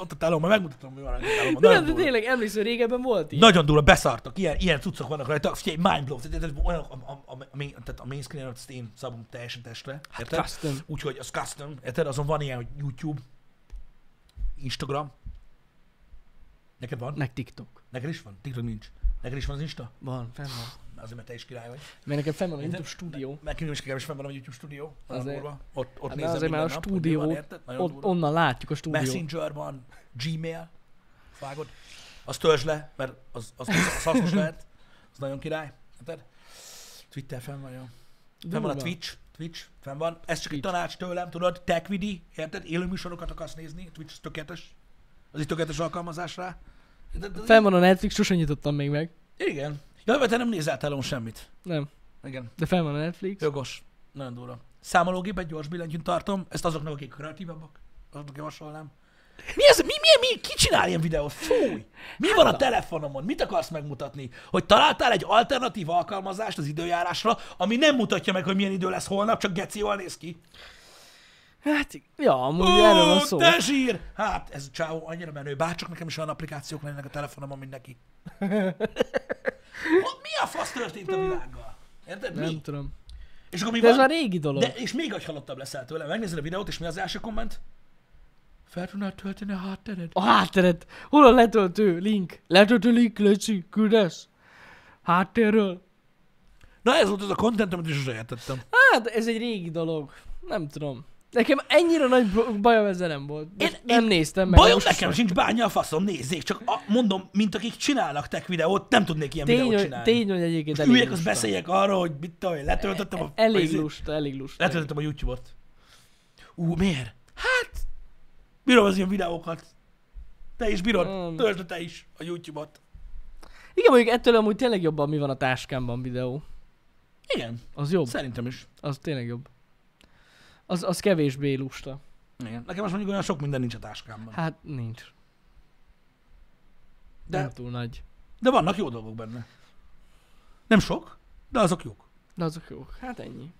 Ott a telom, majd megmutatom, mi van a telomban. De, nem, Nagyon de durva. tényleg emlékszem, hogy régebben volt ilyen. Nagyon durva, beszartok. Ilyen, ilyen cuccok vannak rajta. Figyelj, mind blow. Tehát, tehát, olyan, a, a, a, a, main- tehát a main screen alatt azt én szabom teljesen testre. Érted? custom. Úgyhogy az custom. Érted? Azon van ilyen, hogy YouTube, Instagram. Neked van? Meg TikTok. Neked is van? TikTok nincs. Neked is van az Insta? Van, fenn van. Azért, mert te is király vagy. Mert nekem fenn van a Érted? YouTube stúdió. Mert nekem is kevés fenn van a YouTube stúdió. Nagyon Azért. durva. Ott, ott Hát de nézem azért már a minden nap, hogy mi van, stúdió, érted? Nagyon ott, durva. onnan látjuk a stúdió. Messenger van, Gmail, vágod. Azt törzs le, mert az, az, az, az hasznos lehet. Az nagyon király. Érted? Twitter fenn van, jó. Fenn van a Durva. Twitch, Twitch, fenn van. Ez csak egy Twitch. tanács tőlem, tudod, techvidi, érted? Élő műsorokat akarsz nézni, Twitch az tökéletes. Az egy tökéletes alkalmazás rá. De, de, Fenn van a Netflix, sosem nyitottam még meg. Igen. Jaj, mert te nem nézel telón semmit. Nem, Igen. de fenn van a Netflix. Jogos. Nagyon durva. Számológépet gyors billentyűn tartom, ezt azoknak, akik kreatívabbak, azoknak javasolnám. Mi ez? Mi, mi, mi? Ki csinál ilyen videót? Fúj! Hát Mi van a telefonomon? Mit akarsz megmutatni? Hogy találtál egy alternatív alkalmazást az időjárásra, ami nem mutatja meg, hogy milyen idő lesz holnap, csak geci jól néz ki. Hát, ja, amúgy Ó, erről van szó. te zsír! Hát, ez csávó annyira menő. Bárcsak nekem is olyan applikációk lennének a telefonomon, mint neki. Hogy mi a fasz történt a világgal? Érted? Nem Mi? tudom. És akkor mi De ez van? már régi dolog. De, De... és még agyhalottabb leszel tőle. Megnézed a videót, és mi az első komment? Fel tudnád tölteni a háttered? A hátteret. Hol a letöltő link? Letöltő link, Léci, küldesz. Háttérről. Na ez volt az a content, amit is sose értettem. Hát, ez egy régi dolog. Nem tudom. Nekem ennyire nagy bo- bajom ezzel nem volt. Most Én- nem én- néztem meg. Bajom most nekem sincs bánja a faszom, nézzék, csak a, mondom, mint akik csinálnak tech videót, nem tudnék ilyen Tény, videót hogy, csinálni. tény, hogy egyébként elég Üljek, azt lusta. beszéljek arról, hogy mit tudom, én, letöltöttem a... Elég izé- lusta, elég lusta. Letöltöttem a YouTube-ot. Ú, miért? Hát, bírom az ilyen videókat. Te is bírod, Mm. töltö te is a YouTube-ot. Igen, mondjuk ettől amúgy tényleg jobban mi van a táskámban videó. Igen, Az jobb, szerintem is. az tényleg jobb. Az, az kevésbé lusta. Igen. Nekem most mondjuk olyan sok minden nincs a táskámban. Hát nincs. De... De, Nem túl nagy. de vannak jó dolgok benne. Nem sok, de azok jók. De azok jók. Hát ennyi.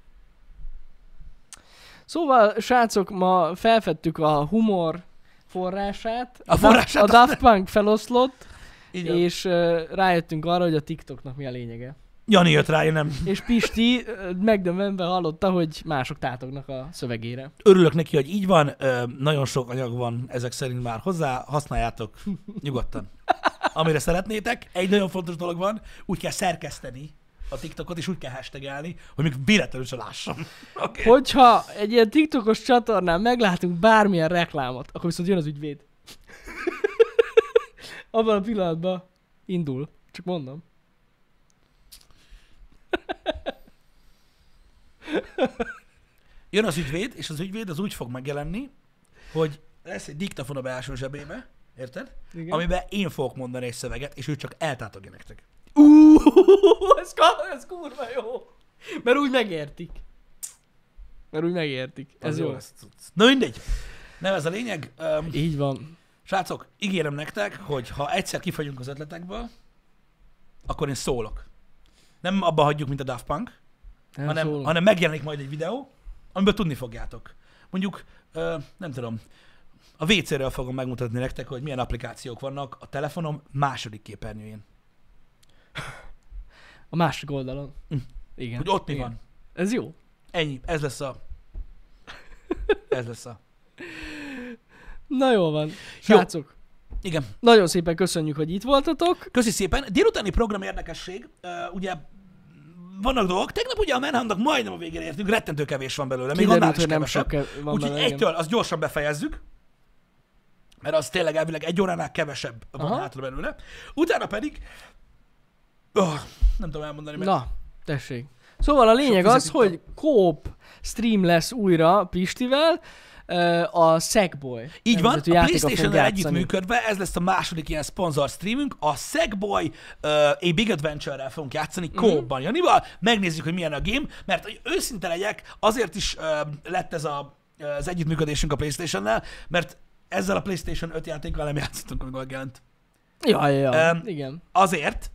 Szóval, srácok, ma felfedtük a humor forrását. A forrását A azt Daft Punk feloszlott, Így van. és uh, rájöttünk arra, hogy a TikToknak mi a lényege. Jani jött rá, én nem. És Pisti ö, megdömbenve hallotta, hogy mások tátognak a szövegére. Örülök neki, hogy így van. Ö, nagyon sok anyag van ezek szerint már hozzá. Használjátok nyugodtan. Amire szeretnétek. Egy nagyon fontos dolog van, úgy kell szerkeszteni a TikTokot, és úgy kell hashtagelni, hogy még véletlenül se lássam. Okay. Hogyha egy ilyen TikTokos csatornán meglátunk bármilyen reklámot, akkor viszont jön az ügyvéd. Abban a pillanatban indul. Csak mondom. Jön az ügyvéd, és az ügyvéd az úgy fog megjelenni, hogy lesz egy diktafon a belső zsebébe, érted? Igen. Amiben én fogok mondani egy szöveget, és ő csak eltátogja nektek. Uh, ez, ka- ez kurva jó. Mert úgy megértik. Mert úgy megértik. Ez Az jó. lesz, cucc. Na mindegy. Nem ez a lényeg. Um, Így van. Srácok, ígérem nektek, hogy ha egyszer kifagyunk az ötletekből, akkor én szólok. Nem abba hagyjuk, mint a Daft Punk, Nem hanem, szólok. hanem megjelenik majd egy videó, amiből tudni fogjátok. Mondjuk, ö, nem tudom, a WC-ről fogom megmutatni nektek, hogy milyen applikációk vannak a telefonom második képernyőjén. A másik oldalon. Hm. Igen. Hogy ott mi Igen. van. Ez jó. Ennyi. Ez lesz a... Ez lesz a... Na jó van. Srácok, jó. Igen. nagyon szépen köszönjük, hogy itt voltatok. Köszi szépen. Délutáni program érdekesség. Uh, ugye vannak dolgok. Tegnap ugye a Manhuntnak majdnem a végére értünk, rettentő kevés van belőle, még annál Kiderült, is hogy nem kevesebb. sok kev- van Úgyhogy belőle, igen. egytől azt gyorsan befejezzük, mert az tényleg elvileg egy óránál kevesebb van Aha. Aha. hátra belőle. Utána pedig, oh, nem tudom elmondani, mert Na, tessék. Szóval a lényeg az, fizetik hogy kóp stream lesz újra Pistivel, ö, a Sackboy. Így van, a nevezetű játéka playstation fog el játszani. együttműködve, ez lesz a második ilyen szponzor streamünk, a Sackboy uh, a Big Adventure-rel fogunk Mhm. játszani mm-hmm. ban Janival, megnézzük, hogy milyen a game, mert hogy őszinte legyek, azért is uh, lett ez a, uh, az együttműködésünk a Playstation-nel, mert ezzel a Playstation 5 játékkal nem játszottunk, amikor megjelent. Ja, ja, ja. Öm, igen. Azért,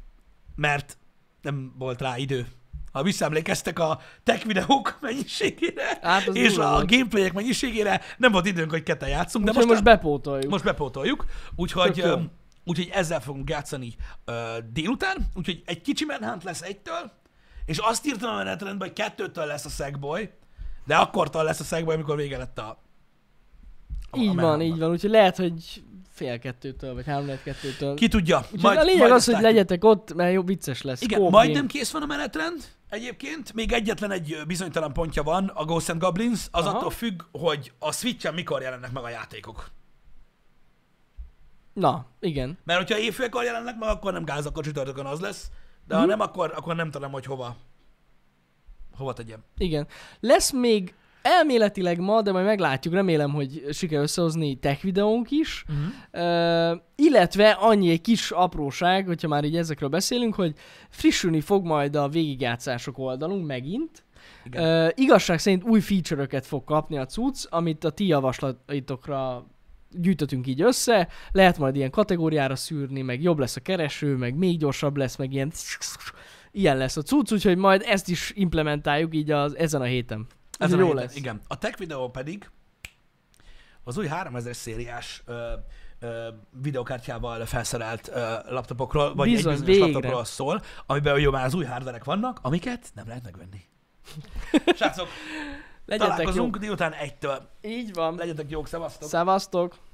mert nem volt rá idő. Ha visszaemlékeztek a tech videók mennyiségére, Hát, az és durva a volt. gameplayek mennyiségére, nem volt időnk, hogy ketten játszunk, de Úgyhogy most, most bepótoljuk. most bepótoljuk, úgyhogy, Tök jó. ö, úgyhogy ezzel fogunk játszani ö, délután, úgyhogy egy kicsi Manhunt lesz egytől, és azt írtam a menetrendben, hogy kettőtől lesz a Sackboy, de akkortól lesz a Sackboy, amikor vége lett a, a Így van, Manhuntnak. így van, úgyhogy lehet, hogy fél kettőtől, vagy három kettőtől. Ki tudja. Majd, a lényeg az, azt hogy látjuk. legyetek ott, mert jó vicces lesz. Igen, Kóp majdnem game. kész van a menetrend egyébként. Még egyetlen egy ö, bizonytalan pontja van, a Ghosts and Goblins. Az Aha. attól függ, hogy a Switch-en mikor jelennek meg a játékok. Na, igen. Mert hogyha éjfélkor jelennek meg, akkor nem gáz, akkor csütörtökön az lesz. De Mhm. ha nem, akkor, akkor nem tudom, hogy hova. Hova tegyem. Igen. Lesz még elméletileg ma, de majd meglátjuk, remélem, hogy sikerül összehozni tech videónk is. Uh, illetve annyi egy kis apróság, hogyha már így ezekről beszélünk, hogy frissülni fog majd a végigjátszások oldalunk megint. Igen. Uh, igazság szerint új feature-öket fog kapni a cucc, amit a ti javaslatitokra gyűjtötünk így össze, lehet majd ilyen kategóriára szűrni, meg jobb lesz a kereső, meg még gyorsabb lesz, meg ilyen ilyen lesz a cucc, úgyhogy majd ezt is implementáljuk így az, ezen a héten. Ez a Úgyhogy jó héten. lesz. Igen. A tech videó pedig az új 3000 szériás ö, ö, videokártyával felszerelt ö, laptopokról, vagy Bizony, egy bizonyos végre. laptopról szól, amiben ugye már az új hardverek vannak, amiket nem lehet megvenni. Srácok, Legyetek jók. találkozunk délután egytől. Így van. Legyetek jók, szevasztok! Szevasztok.